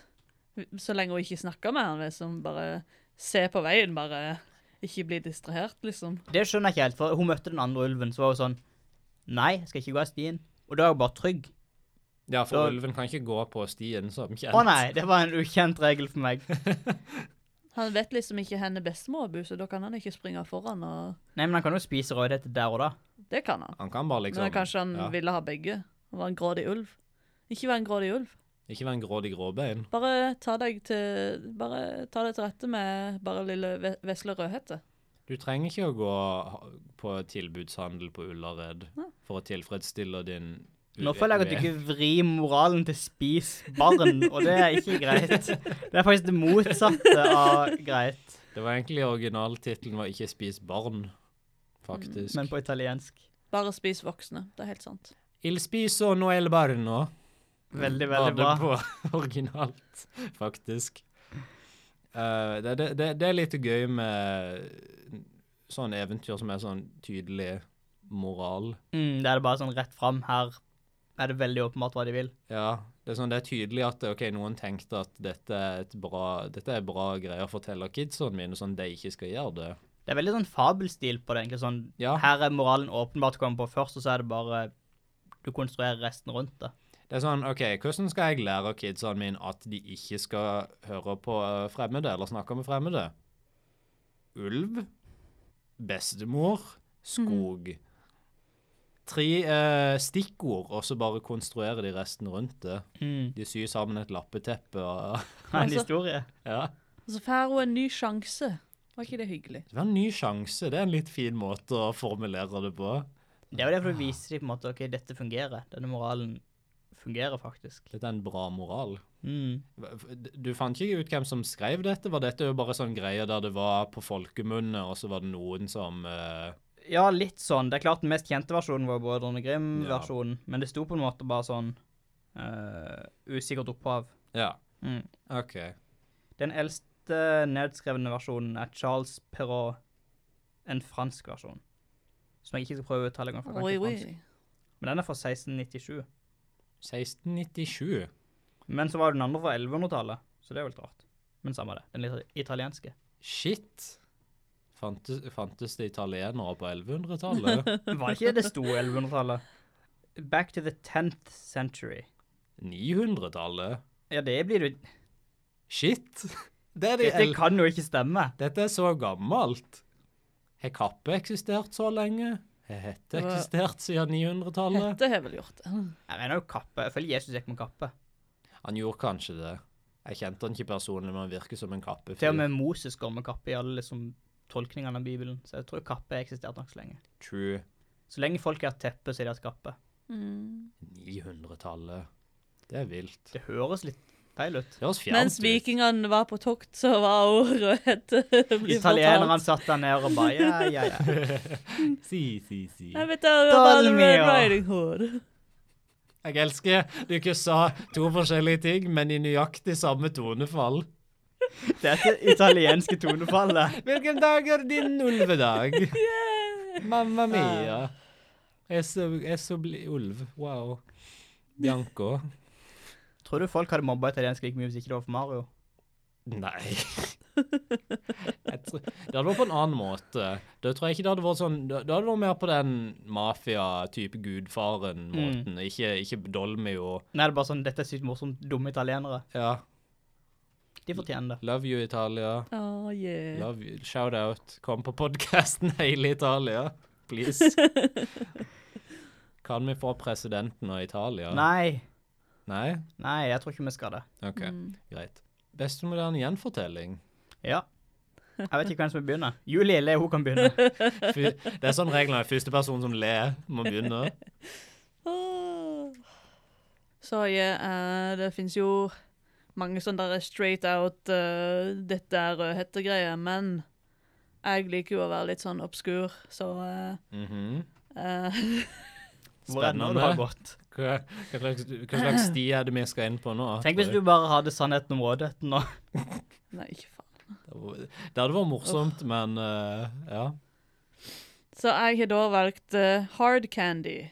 B: så lenge hun ikke snakka med han, liksom bare se på veien, bare ikke bli distrahert, liksom.
D: Det skjønner jeg ikke helt, for hun møtte den andre ulven, så var hun sånn Nei, jeg skal ikke gå i stien. Og da er hun bare trygg.
C: Ja, for
D: Da-
C: ulven kan ikke gå på stien som kjent.
D: Å nei, det var en ukjent regel for meg.
B: Han vet liksom ikke henne bestemor bu, så da kan han ikke springe foran, og
D: Nei, men han kan jo spise rådhette der og da.
B: det kan han.
C: Han kan bare liksom
B: Men kanskje han
C: ja.
B: ville ha begge. Han var en grådig ulv. Ikke vær en grådig ulv.
C: Ikke være en grådig gråbein.
B: Bare ta deg til, bare ta deg til rette med bare lille ve- vesle rødhette.
C: Du trenger ikke å gå ha- på tilbudshandel på Ullared
B: Nei.
C: for å tilfredsstille din
D: Nå føler jeg at du ikke vrir moralen til spis barn, og det er ikke greit. Det er faktisk det motsatte av greit,
C: Det var egentlig originaltittelen var 'Ikke spis barn', faktisk.
D: men på italiensk.
B: Bare spis voksne. Det er helt sant.
C: Il spiso no el barno.
D: Veldig,
C: var
D: veldig
C: det
D: bra.
C: på originalt, faktisk. Eh, det, det, det, det er litt gøy med sånne eventyr som er sånn tydelig moral.
D: Mm, det er det bare sånn rett fram her. Er det veldig åpenbart hva de vil?
C: Ja, det er, sånn, det er tydelig at ok, noen tenkte at dette er, et bra, dette er bra greier å fortelle kidsene mine, sånn de ikke skal gjøre det.
D: Det er veldig sånn fabelstil på det, egentlig. Sånn,
C: Ja.
D: Her er moralen åpenbart kommet på først, og så er det bare Du konstruerer resten rundt det.
C: Det er sånn, ok, hvordan skal jeg lære kidsene mine at de ikke skal høre på eh, fremmede, eller snakke med fremmede? Ulv, bestemor, skog. Tre eh, stikkord, og så bare konstruere de resten rundt det.
D: Mm.
C: De syr sammen et lappeteppe. Og,
D: En
B: Altså-
D: historie.
C: ja.
B: Og så får hun en ny sjanse. Var ikke det hyggelig?
C: Det var en ny sjanse, det er en litt fin måte å formulere det på.
D: Det er jo derfor du viser dem på en måte OK, dette fungerer. Denne moralen fungerer faktisk.
C: Dette er en bra moral.
D: Mm.
C: Du fant ikke ut hvem som skrev dette? Var dette jo bare sånn greie der det var på folkemunne, og så var det noen som eh,
D: Ja, litt sånn. Det er klart den mest kjente versjonen var jo Brødrene Grim-versjonen, men det sto på en måte bare sånn eh, usikkert opphav.
C: Ja,
D: Mm.
C: OK.
D: Den eldste nedskrevne versjonen er Charles Perrault, en fransk versjon. Som jeg ikke skal prøve å uttale engang, for jeg
B: Oi,
D: kan ikke fransk.
B: oi.
D: Men den er fra 1697.
C: 1697.
D: Men så var den andre fra 1100-tallet, så det er jo litt rart. Men samme det. Den litt italienske.
C: Shit. Fantes, fantes det italienere på 1100-tallet?
D: Var ikke det det sto 1100-tallet? Back to the 10th century.
C: 900-tallet?
D: Ja, det blir jo
C: Shit. Det er de
D: Dette
C: el-
D: kan jo ikke stemme.
C: Dette er så gammelt. Har kappe eksistert så lenge? Har hette eksistert siden 900-tallet?
B: Dette har vel gjort det.
D: Jeg mener jo kappe. Jeg føler Jesus gikk med kappe.
C: Han gjorde kanskje det. Jeg kjente han ikke personlig, men han virker som en kappefyr.
D: Til og med Moses går med kappe i alle liksom, tolkningene av Bibelen, så jeg tror kappe har eksistert nok så lenge.
C: True.
D: Så lenge folk har hatt teppe, så har de hatt kappe.
C: 900-tallet. Det er vilt.
D: Det høres litt feil ut.
C: Det høres fjernt
B: Mens vikingene var på tokt, så var hun rødhette. blir
D: Italienerne
B: fortalt.
D: satt der nede og bare ja, ja, ja.
C: Si, si, si.
B: Jeg vet det, det var bare
D: Dalmia.
B: Red Riding Hood.
C: Jeg elsker du ikke sa to forskjellige ting, men i nøyaktig samme tonefall.
D: Dette italienske tonefallet.
C: Hvilken dag er din ulvedag? Mamma mia. Jeg er så, jeg er så bli ulv. Wow. Bianco.
D: Tror du folk hadde mobba italiensk like mye hvis ikke det var for Mario?
C: Nei. Jeg tror, det hadde vært på en annen måte. Da tror jeg ikke det hadde vært sånn Da da hadde det vært mer på den mafia-type gudfaren-måten. Ikke, ikke Dolmio.
D: Nei, det er bare sånn dette er sykt morsomt, dumme italienere.
C: Ja.
D: De fortjener det.
C: Love you, Italia.
B: Oh, yeah.
C: Love you. Shout out. Kom på podkasten hele Italia. Please. Kan vi få presidenten av Italia?
D: Nei.
C: Nei?
D: Nei, jeg tror ikke vi skal det.
C: OK, greit. Beste moderne gjenfortelling.
D: Ja. Jeg vet ikke hvem som vil begynne. Julie eller hun kan begynne.
C: Fy, det er sånn reglene er. Første person som ler, må begynne.
B: Åh. Så ja, eh, det finnes jo mange sånne der straight out eh, 'dette er rødhette'-greier, men jeg liker jo å være litt sånn obskur, så
C: Mhm.
B: eh, eh,
D: Hvor er det nå du har gått?
C: Hva, hva, slags, hva slags sti er det vi skal inn på nå?
D: Tenk hvis du bare hadde sannheten om rådheten nå.
B: Nei, ikke faen.
C: Det var- eh, det hadde vært morsomt, men eh, ja.
B: Så jeg har da valgt eh, Hard Candy.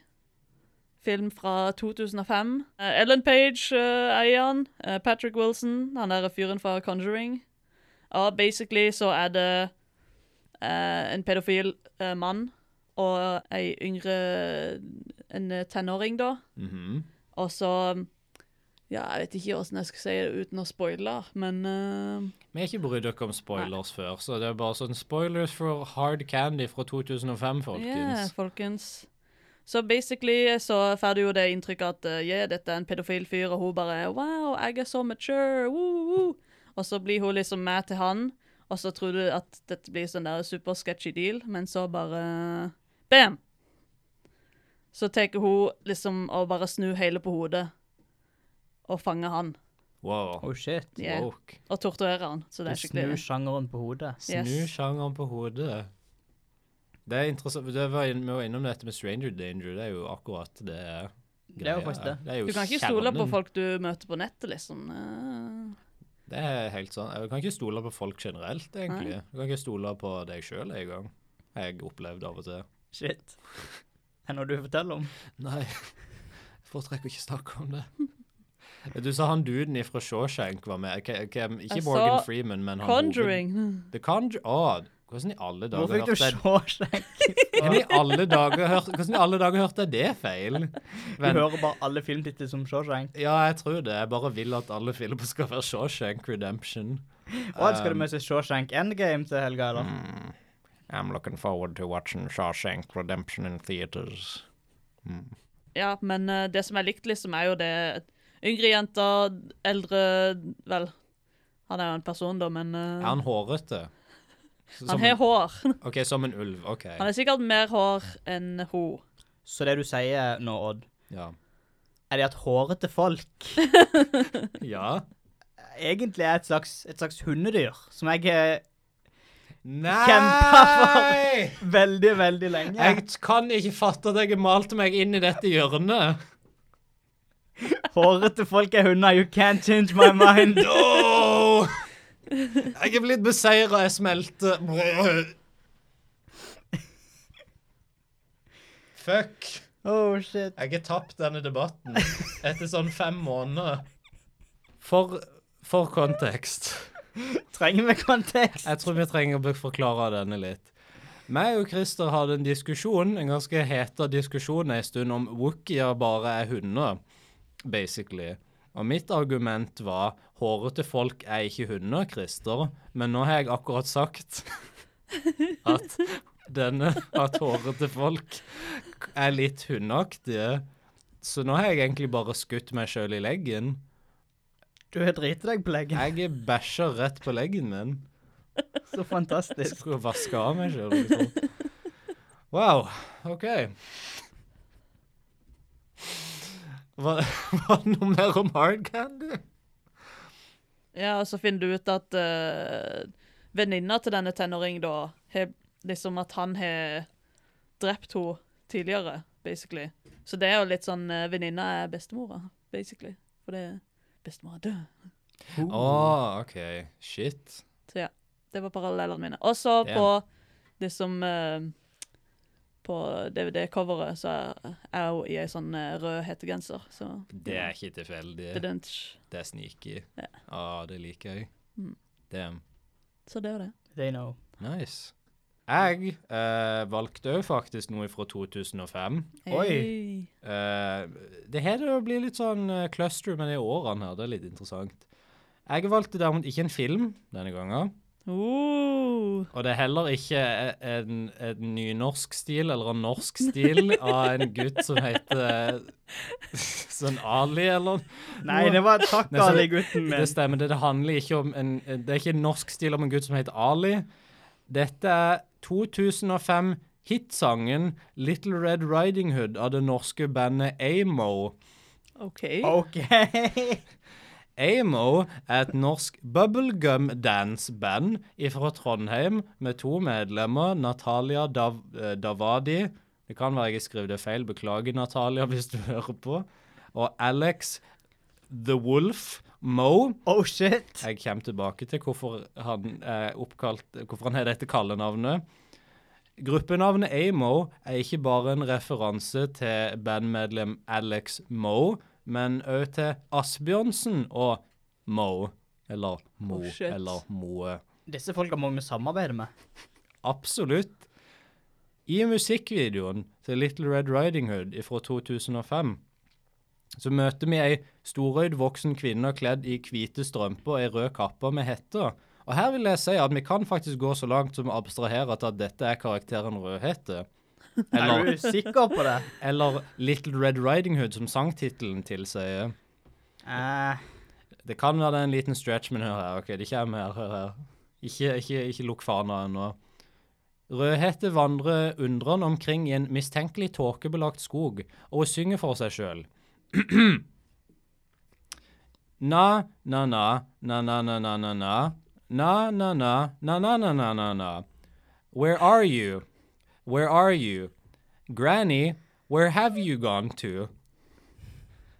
B: Film fra 2005. Eh, Ellen Page eh, eier han. eh, Patrick Wilson, han der fyren fra Conjuring. Ja, basically så er det eh, en pedofil eh, mann og ei yngre En eh, tenåring, da.
C: Mhm.
B: Og så Ja, jeg vet ikke åssen jeg skal si det uten å spoile, men eh,
C: Vi har ikke brydd dere om spoilers før, så det er bare sånn spoilers for Hard Candy fra 2005,
B: Yeah,
C: folkens.
B: folkens. Så basically så får du jo det inntrykket at eh, yeah, dette er en pedofil fyr, og hun bare Wow, jeg er så mature! Woo, woo. Og så blir hun liksom med til han, og så tror du at dette blir sånn der super sketchy deal, men så bare Bam! Så tar hun liksom og bare snur hele på hodet og fanger han
C: Wow.
D: Oh shit.
B: Yeah.
C: Woke.
B: og torturerer han. Så
D: Du
B: det er
D: snur
B: skikkelig
D: sjangeren på hodet.
C: Snu
B: Yes.
C: sjangeren på hodet. Det er interessant. Det var, inn- vi var innom dette med Stranger Danger. Det er jo akkurat det greia.
D: Det er jo faktisk det.
C: er jo
B: Du kan ikke stole på
C: kjernen.
B: folk du møter på nettet, liksom. Eh,
C: Det er helt sånn. Jeg kan ikke stole på folk generelt, egentlig. Du kan ikke stole på deg sjøl engang. Jeg opplevde av og til.
D: Shit. Er det noe du forteller om?
C: Nei, jeg foretrekker ikke å snakke om det. Du sa han duden ifra Shawshank var med. K hvem- ikke
B: Jeg
C: Morgan
B: sa
C: Freeman, men han
B: Conjuring.
C: Hoved... The Conjuring. hvordan i alle
D: Hvor
C: dager
D: fikk du
C: hørte jeg
D: Shawshank?
C: Hvordan i alle dager hørte, hvordan i alle dager hørte jeg det feil?
D: Du
C: Men,
D: hører bare alle filmtitler som Shawshank.
C: ja, jeg tror det. Jeg bare vil at alle filmer skal være Shawshank Redemption.
D: Å, skal du med seg Shawshank Endgame til helga, eller?
C: Mm. I'm looking forward to watching Shawshank Redemption in theaters. Mm.
B: Ja, men eh, det som jeg likte, liksom, er jo det Yngre jenter, eldre Vel, han er jo en person, da, men eh,
C: Er han hårete? Som
B: han har
C: en-
B: hår.
C: OK, som en ulv. OK.
B: Han er sikkert mer hår enn hun.
D: Så det du sier nå, Odd,
C: Ja.
D: er det at hårete folk
C: ja.
D: egentlig er et slags, et slags hundedyr, som jeg har
C: Nei!
D: Kjempa veldig, veldig lenge.
C: Jeg kan ikke fatte at jeg malte meg inn i dette hjørnet.
D: Hårete folk er hunder, you can't change my mind.
C: No! Jeg er blitt beseira, jeg smelter. Fuck.
D: Oh shit.
C: Jeg har tapt denne debatten etter sånn fem måneder. For, for kontekst.
D: Trenger vi kontekst?
C: Jeg tror vi trenger å forklare denne litt. Meg og Christer hadde en diskusjon, en ganske heta diskusjon en stund om wookier bare er hunder, basically. Og mitt argument var hårete folk er ikke hunder, Christer. Men nå har jeg akkurat sagt at denne at hårete folk er litt hundeaktige. Så nå har jeg egentlig bare skutt meg sjøl i leggen.
D: Du har driti deg på leggen.
C: Jeg bæsja rett på leggen min.
D: Så fantastisk.
C: Skulle vaske av meg sjøl. Liksom. Wow. OK. Var, var det noe mer om hard candy?
B: Ja, og så finner du ut at uh, venninna til denne tenåringen, da, har liksom at han har drept henne tidligere, basically. Så det er jo litt sånn uh, Venninna er bestemora, basically. For det bestemora er død.
C: Å, OK. Shit.
B: Så ja, det var parallellene mine. Og så
C: Damn.
B: på det som eh, På DVD-coveret så er jeg jo i ei sånn eh, rød hettegenser, så
C: Det er ikke tilfeldig.
B: Bedømt.
C: Det er sneaky.
B: Ja.
C: Ja, Mm. det liker jeg. Damn.
B: Så det var det.
D: They know.
C: Nice. Jeg eh, valgte òg faktisk noe fra 2005.
D: Oi.
B: Hey.
C: Eh, det her det blir litt sånn eh, cluster med de årene her. Det er litt interessant. Jeg valgte derimot ikke en film denne gangen.
B: Oh.
C: Og det er heller ikke eh, en, en nynorsk stil eller en norsk stil av en gutt som heter sånn Ali eller
D: Nei, det var takk,
C: Nei, så-
D: alle gutten
C: Det
D: min.
C: stemmer. Det, det handler ikke om en Det er ikke en norsk stil om en gutt som heter Ali. Dette er 2005 hitsangen 'Little Red Riding Hood' av det norske bandet Amo.
B: OK.
D: OK.
C: Amo er et norsk bubblegum dance-band fra Trondheim med to medlemmer, Natalia Dav eh, Davadi Det kan være jeg skriver det feil. Beklager, Natalia, hvis du hører på. Og Alex The Wolf Mo.
D: Oh shit!
C: Jeg kommer tilbake til hvorfor han er oppkalt, hvorfor han har dette kallenavnet. Gruppenavnet Amo er ikke bare en referanse til bandmedlem Alex Moe, men òg til Asbjørnsen og Moe. Eller Mo,
B: Oh, shit.
C: eller Moe.
D: Disse folk har mange vi samarbeider med.
C: Absolutt. I musikkvideoen til Little Red Riding Hood fra 2005 så møter vi ei storøyd voksen kvinne kledd i hvite strømper og ei rød kappe med hette. Og her vil jeg si at vi kan faktisk gå så langt som å abstrahere til at dette er karakteren Rødhette.
D: Er
C: Eller,
D: du sikker på det?
C: eller Little Red Riding Hood, som sangtittelen tilsier.
D: Eh,
C: Det kan være det er en liten stretch, men hør her. ok, Det kommer her. hør her. Ikke, ikke, ikke lukk fana ennå. Rødhette vandrer undrende omkring i en mistenkelig tåkebelagt skog, og hun synger for seg sjøl. Na, na, na, na, na, na, na, na, na. Na, na, na, na, na, na, na, na, na. Where are you? Where are you? Granny, where have you gone to?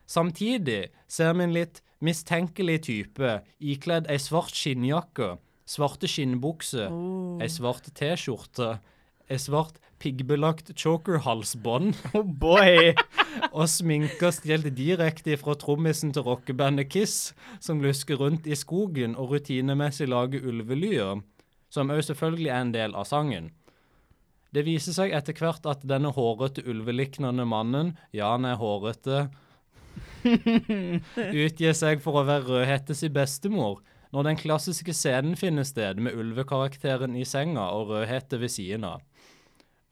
C: Samtidig ser vi en litt mistenkelig type ikledd ei svart skinnjakke, svarte skinnbukser, ei svart T-skjorte, ei svart piggbelagt chokerhalsbånd
D: oh boy!
C: og sminka stjålet direkte fra trommisen til rockebandet Kiss, som lusker rundt i skogen og rutinemessig lager ulvelyer, som òg selvfølgelig er en del av sangen. Det viser seg etter hvert at denne hårete, ulveliknende mannen, ja, han er hårete, utgir seg for å være Rødhette sin bestemor. Når den klassiske scenen finner sted med ulvekarakteren i senga og Rødhette ved siden av.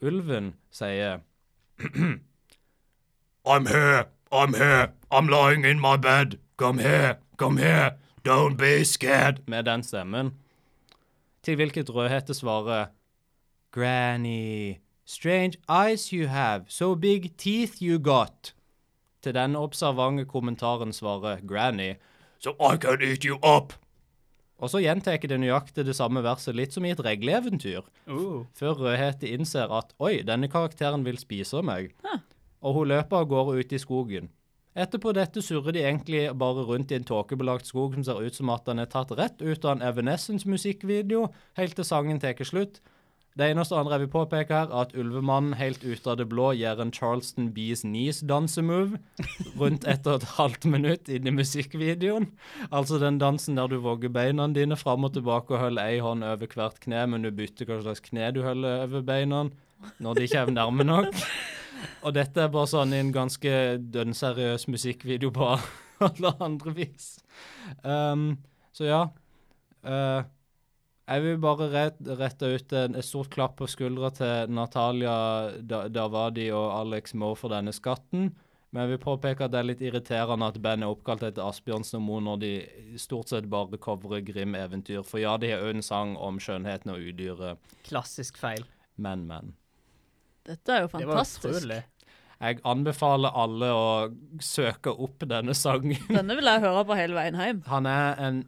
C: Ulven sier
G: I'm here. I'm here. I'm lying in my bed. Come here. Come here. Don't be scared.
C: med den stemmen. Til hvilket Rødhette svarer Granny, strange eyes you have, so big teeth you got. Til den observante kommentaren svarer Granny,
G: So I can eat you up.
C: og så gjentar det nøyaktig det samme verset litt som i et regleeventyr, før Rødhette innser at oi, denne karakteren vil spise meg, og hun løper av gårde ut i skogen. Etterpå dette surrer de egentlig bare rundt i en tåkebelagt skog som ser ut som at den er tatt rett ut av en Evanescence-musikkvideo, helt til sangen tar slutt. Det eneste andre jeg vil påpeke her, er at ulvemannen helt ut av det blå gjør en Charleston Bees Knees-dansemove rundt ett og et halvt minutt inn i musikkvideoen. Altså den dansen der du vogger beina dine fram og tilbake og holder ei hånd over hvert kne, men du bytter hva slags kne du holder over beina når de kommer nærme nok. Og dette er bare sånn i en ganske dønnseriøs musikkvideo på alle andre vis. Um, så ja. Eh, jeg vil bare ret, rette ut en, et stort klapp på skuldra til Natalia Da- Davadi og Alex Moe for denne skatten. Men jeg vil påpeke at det er litt irriterende at bandet er oppkalt etter Asbjørnsen og Moe når de stort sett bare covrer Grim eventyr. For ja, de har òg en sang om skjønnheten og udyret,
D: Klassisk feil.
C: men, men.
B: Dette er jo
D: Det var
B: fantastisk.
D: utrolig.
C: Jeg anbefaler alle å søke opp denne sangen.
B: Denne vil jeg høre på hele veien hjem.
C: Han er en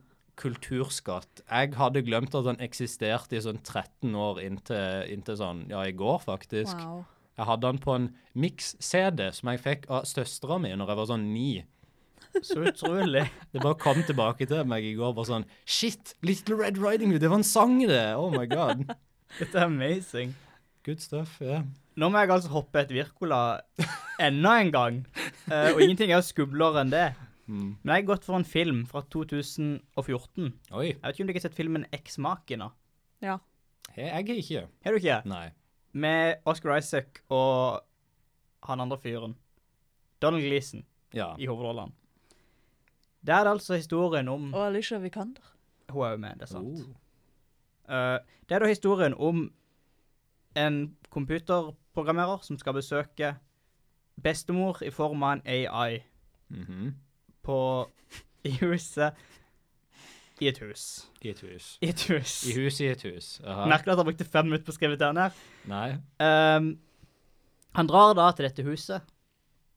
C: kulturskatt. Jeg hadde glemt at han eksisterte i sånn 13 år inntil, inntil sånn, ja, i går faktisk.
B: Wow.
C: Jeg hadde han på en mix-CD som jeg fikk av søstera mi når jeg var sånn ni.
D: Så utrolig.
C: Det bare kom tilbake til meg i går, bare sånn Shit! Little Red Riding Hood, det var en sang, det! Oh my god.
D: Dette er amazing.
C: Good stuff. ja.
D: Nå må jeg altså hoppe et Wirkola enda en gang. Eh, og ingenting er jo skumlere enn det.
C: Mm.
D: Men jeg har gått for en film fra 2014. Jeg
C: Oi.
D: vet ikke om dere har sett filmen Eksmaken? da.
B: Ja.
C: He, jeg har ikke.
D: Har du ikke?
C: Nei.
D: Med Oscar Isaac og han andre fyren. Donald Gleeson
C: Ja.
D: i hovedrollen. Der er det altså historien om
B: Og Alicia Vikander.
D: Hun er jo med, det er sant.
C: Oh.
D: Eh, det er da historien om en computerprogrammerer som skal besøke bestemor i form av en AI
C: Mhm.
D: på i huset i et hus.
C: I et hus.
D: I et hus.
C: I hus i et hus. Aha.
D: Merker du at han brukte fem minutter på å skrive den her?
C: Nei.
D: Ehm, han drar da til dette huset.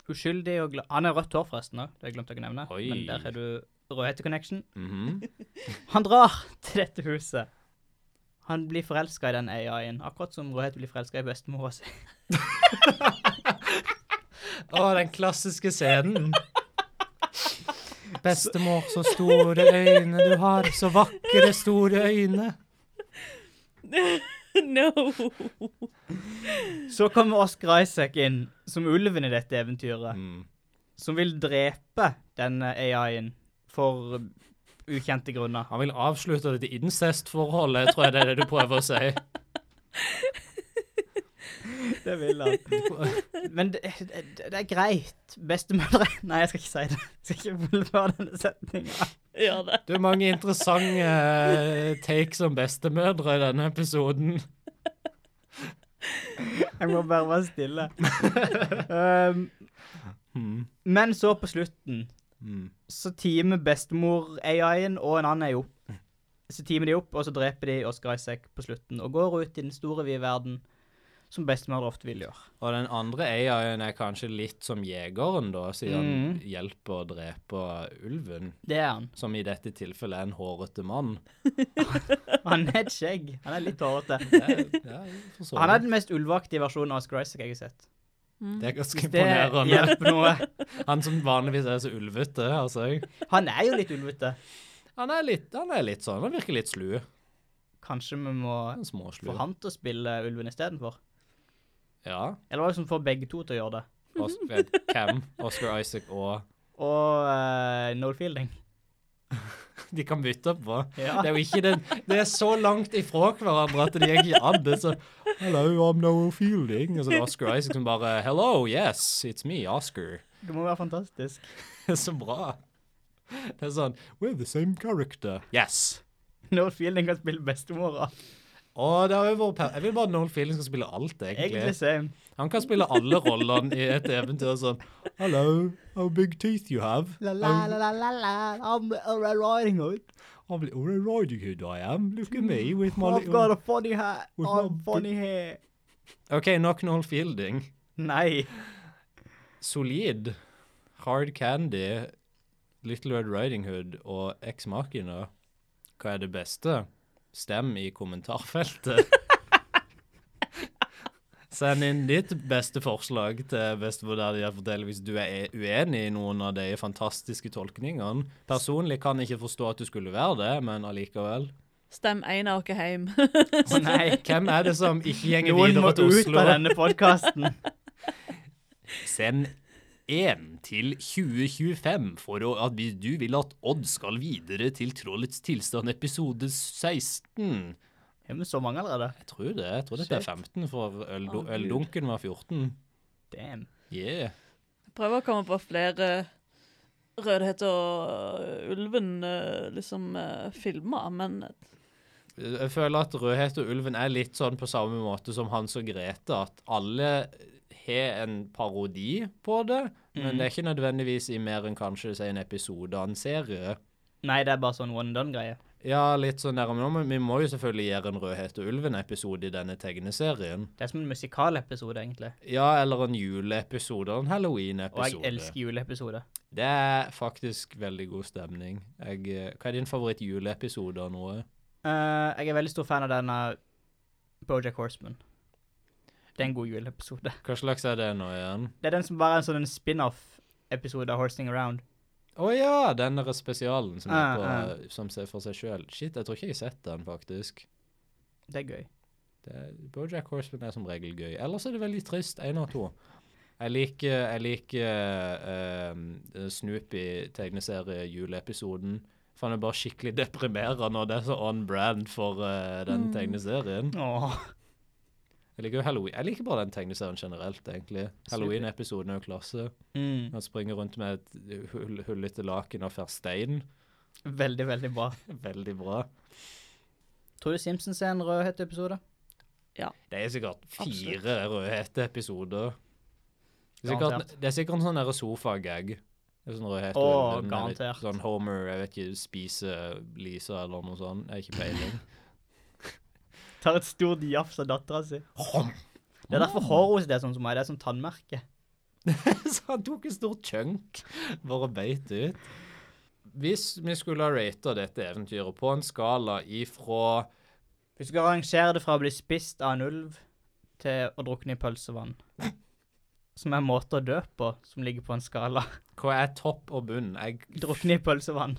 D: Uskyldig og glad. Han har rødt hår, forresten. Også. Det har jeg glemt å nevne.
C: Oi.
D: Men der har du Rødhette Connection.
C: Mhm.
D: Han drar til dette huset. Han blir forelska i den AI-en, akkurat som Rødhette blir forelska i bestemora si.
C: Å, den klassiske scenen. Bestemor, så store øyne du har, så vakre, store øyne.
B: No!
D: Så kommer Oscar Isaac inn, som ulven i dette eventyret,
C: Mm.
D: som vil drepe denne AI-en for ukjente grunner.
C: Han vil avslutte dette incestforholdet, tror jeg det er det du prøver å si.
D: Det vil han. Men det, det, det er greit. Bestemødre Nei, jeg skal ikke si det. Jeg skal ikke fullføre denne setninga.
B: Ja da.
C: Det er mange interessante eh, takes om bestemødre i denne episoden.
D: Jeg må bare være stille. Um, men så på slutten
C: Mm.
D: så teamer bestemor-AI-en og en annen AI opp. Så teamer de opp, og så dreper de Oscar Isaac på slutten, og går ut i den store vide verden, som bestemødre ofte vil gjøre.
C: Og den andre AI-en er kanskje litt som jegeren, da, siden han hjelper å drepe ulven,
D: Det er han.
C: som i dette tilfellet er en hårete mann.
D: Han er et skjegg. Han er litt hårete.
C: Det er, det er for så
D: Han er
C: vidt
D: den mest ulveaktige versjonen av Oscar Isaac jeg har sett. Mm.
C: Det er ganske
D: Det
C: imponerende.
D: hjelper noe.
C: Han som vanligvis er så ulvete, altså.
D: Han er jo litt ulvete.
C: Han er litt, han er litt sånn, han virker litt slu.
D: Kanskje vi må
C: En småslu.
D: få han til å spille ulven istedenfor?
C: Ja.
D: Eller hva som får begge to til å gjøre det?
C: Os vet, Cam, Oscar Isaac og
D: Og uh, Noel Fielding.
C: De kan bytte på.
D: Ja.
C: Det er jo ikke den Det er så langt ifra hverandre at de egentlig hadde så
E: Hello, I'm Noel Fielding.
C: Og så er det Oscar Isaac som liksom bare Hello, yes, it's me, Oscar.
D: Det må være fantastisk.
C: Det er så bra. Det er sånn
E: We're the same character.
C: Yes.
D: Noel Fielding kan spille bestemora.
C: Og det har jo vært per- Jeg vil bare at Noel Fielding skal spille alt,
D: Egentlig
C: egentlig.
D: same.
C: Han kan spille alle rollene i et eventyr sånn.
E: Hello, how big teeth you have.
D: La la la la la la, I'm a riding hood.
E: I'm little Red Riding Hood, I am. Look at me with my
D: I've got
E: little...
D: a funny hat.
E: With
D: I'm
E: my
D: funny hair.
C: OK, nok Noel Fielding.
D: Nei.
C: Solid. Hard Candy, Little Red Riding Hood og eksmakene. Hva er det beste? Stem i kommentarfeltet. Send inn ditt beste forslag til bestemor der de har fortalt hvis du er uenig i noen av de fantastiske tolkningene. Personlig kan jeg ikke forstå at du skulle være det, men allikevel.
B: Stem én av dere hjem.
D: Å nei.
C: Hvem er det som ikke gjenger
D: Noen må
C: videre til
D: ut
C: Oslo?
D: av denne podkasten.
C: Send én til 2025 for å, at hvis du vil at Odd skal videre til Trollets tilstand episode 16.
D: Har vi så mange allerede?
C: Jeg tror det. Jeg tror dette er 15, for øl, øldunken var 14.
D: Damn.
C: Yeah.
B: Prøver å komme på flere Rødhet og ulven eh, liksom eh, filmer, men
C: Jeg føler at Rødhet og ulven er litt sånn på samme måte som Hans og Grete, at alle har en parodi på det, men det er ikke nødvendigvis i mer enn kanskje si, en episode av en serie.
D: Nei, det er bare sånn one done-greie.
C: Ja, litt sånn der, men vi må jo selvfølgelig gjøre en Rødhet og ulven-episode i denne tegneserien.
D: Det er som en musikalepisode, egentlig.
C: Ja, eller en juleepisode og
D: Og
C: en
D: jeg
C: Halloween-episode.
D: elsker juleepisoder.
C: Det er faktisk veldig god stemning. Jeg, eh, hva er din favoritt juleepisode av noe?
D: Eh, jeg er veldig stor fan av denne Bojack Horseman. Det er en god juleepisode.
C: Hva slags er det nå igjen?
D: Det er den som bare er en sånn en spin-off-episode av Horsing Around.
C: Å ja, den der spesialen som, er
D: Ah,
C: på, eh,
D: ah.
C: som ser for seg sjøl. Shit, jeg tror ikke jeg har sett den, faktisk.
D: Det er gøy.
C: Det, er- Bojack Horseman er som regel gøy. Ellers er det veldig trist. Én av to. Jeg liker, jeg liker eh, eh, Snoopy-tegneserie-juleepisoden. Faen, det er bare skikkelig deprimerende, og det er så on brand for eh, den tegneserien.
D: Åh.
C: Jeg liker jo Halloween. Jeg liker bare den tegneserien generelt, egentlig. Halloween-episoden er jo klasse.
D: Mm.
C: Han springer rundt med et hull- hullete laken av ferstein.
D: Veldig, veldig bra.
C: Veldig bra.
D: Tror du Simpsons er en rødhette-episode?
C: Det er sikkert
B: Absolutt.
C: fire rødhete episoder. Det er sikkert,
D: Garantert.
C: det er sikkert en sånn derre sofagag. Det er Sånn rødhete
D: Åh,
C: ulven, eller
D: garantert.
C: Sånn Homer, jeg vet ikke, spiser Lisa eller noe sånt. Jeg har ikke peiling.
D: Tar et stort jafs av dattera si. Det er
C: Ah.
D: derfor håret er sånn som meg. Det er som tannmerke.
C: Så han tok en stor chunk, bare beit ut. Hvis vi skulle ha rata dette eventyret på en skala ifra
D: Hvis du skal rangere det fra å bli spist av en ulv til å drukne i pølsevann, som er en måte å dø på, som ligger på en skala.
C: Hva er topp og bunn? Jeg,
D: Drukne i pølsevann.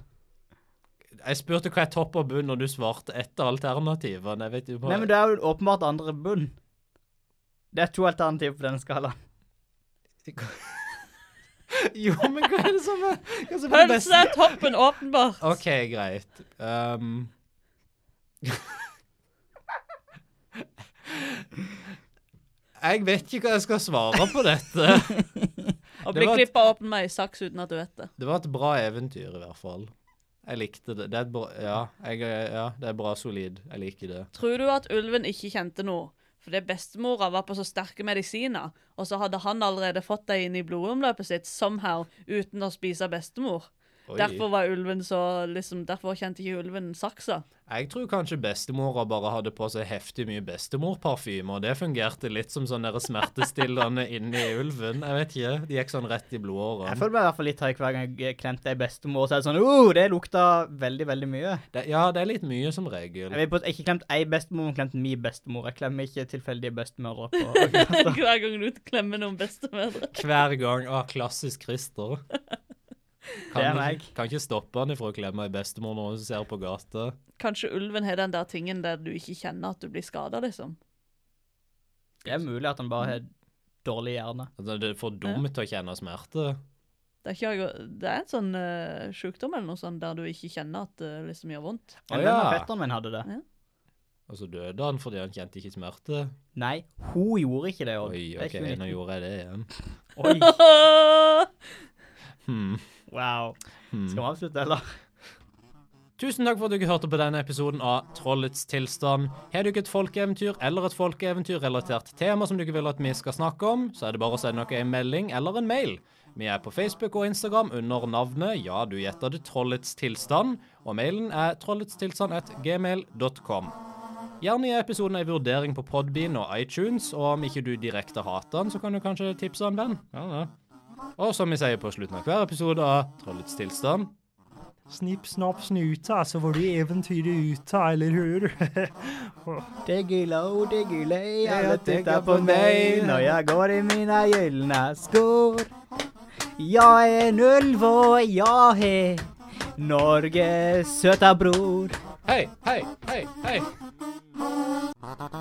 C: jeg spurte hva er topp og bunn, og du svarte etter alternativene. Jeg vet jo
D: Nei,
C: bare...
D: men det er jo åpenbart andre bunn. Det er to alternativer på denne skalaen.
C: Jo, men hva er det som er, hva som er det
B: Pølse
C: beste?
B: er toppen, åpenbart.
C: OK, greit. Um, jeg vet ikke hva jeg skal svare på dette.
B: Å
C: det
B: bli
C: var et-
B: klippa åpen med ei saks uten at du vet det.
C: Det var et bra eventyr, i hvert fall. Jeg likte det. Det er et bra, ja, jeg, er- ja, det er bra solid. Jeg liker det.
B: Tror du at ulven ikke kjente noe? Fordi bestemora var på så sterke medisiner, og så hadde han allerede fått det inn i blodomløpet sitt somehow uten å spise bestemor.
C: Oi.
B: Derfor var ulven så liksom, derfor kjente ikke ulven saksa.
C: Jeg tror kanskje bestemora bare hadde på seg heftig mye bestemorparfyme, og det fungerte litt som sånn der smertestillende inni ulven. Jeg vet ikke. De gikk sånn rett i blodårene.
D: Jeg føler meg i hvert fall litt høy hver gang jeg klemte ei bestemor, så er det sånn oh, det lukta veldig, veldig mye.
C: Det, ja, det er litt mye som regel.
D: Jeg vil på- jeg har ikke klemt ei bestemor, men klemt min bestemor. Jeg klemmer ikke tilfeldige bestemødre på
B: Hver gang du klemmer noen bestemødre.
C: Hver gang. Å, klassisk Christer.
D: Det er
C: Kan, ikke-
D: meg.
C: Kan ikke stoppe han ifra å klemme ei bestemor når hun ser på gata.
B: Kanskje ulven har den der tingen der du ikke kjenner at du blir skada, liksom.
D: Det er mulig at han bare har dårlig hjerne.
C: Altså, det er for dumt til å kjenne smerte.
B: Det er, ikke, jeg- det er en sånn eh, sjukdom eller noe sånt der du ikke kjenner at det liksom gjør vondt.
D: Men
C: Å,
D: hvem av
C: ja.
D: fetteren min hadde det?
C: Og så døde han fordi han kjente ikke smerte.
D: Nei, hun gjorde ikke det. Odd.
C: Oi,
D: Det er
C: OK,
D: ikke hun.
C: nå gjorde jeg det igjen.
D: Oi,
C: Hmm.
D: wow. Skal vi avslutte, eller?
C: Tusen takk for at du hørte på denne episoden av Trollets tilstand. Har du ikke et folkeeventyr eller et folkeeventyrrelatert tema som du ikke vil at vi skal snakke om, så er det bare å sende noe en melding eller en mail. Vi er på Facebook og Instagram under navnet Ja, du gjetter det, Trollets tilstand, og mailen er trolletstilstand.gmail.com. Gjerne gi episoden en vurdering på Podbean og iTunes, og om ikke du direkte hater den, så kan du kanskje tipse en venn. Ja, ja. Og som vi sier på slutten av hver episode av Trollets tilstand
E: Snipp, snapp, snuta, så var det eventyret ute, eller hur?
D: Diggilo, diggilei, alle
C: Jeg
D: titter
C: tenker
D: på
C: på
D: meg
C: meg.
D: når jeg går i mine gylne skor. Jeg er en ulv, og jeg er Norges søta bror.
C: Hei, hei, hei, hei.
A: Bye.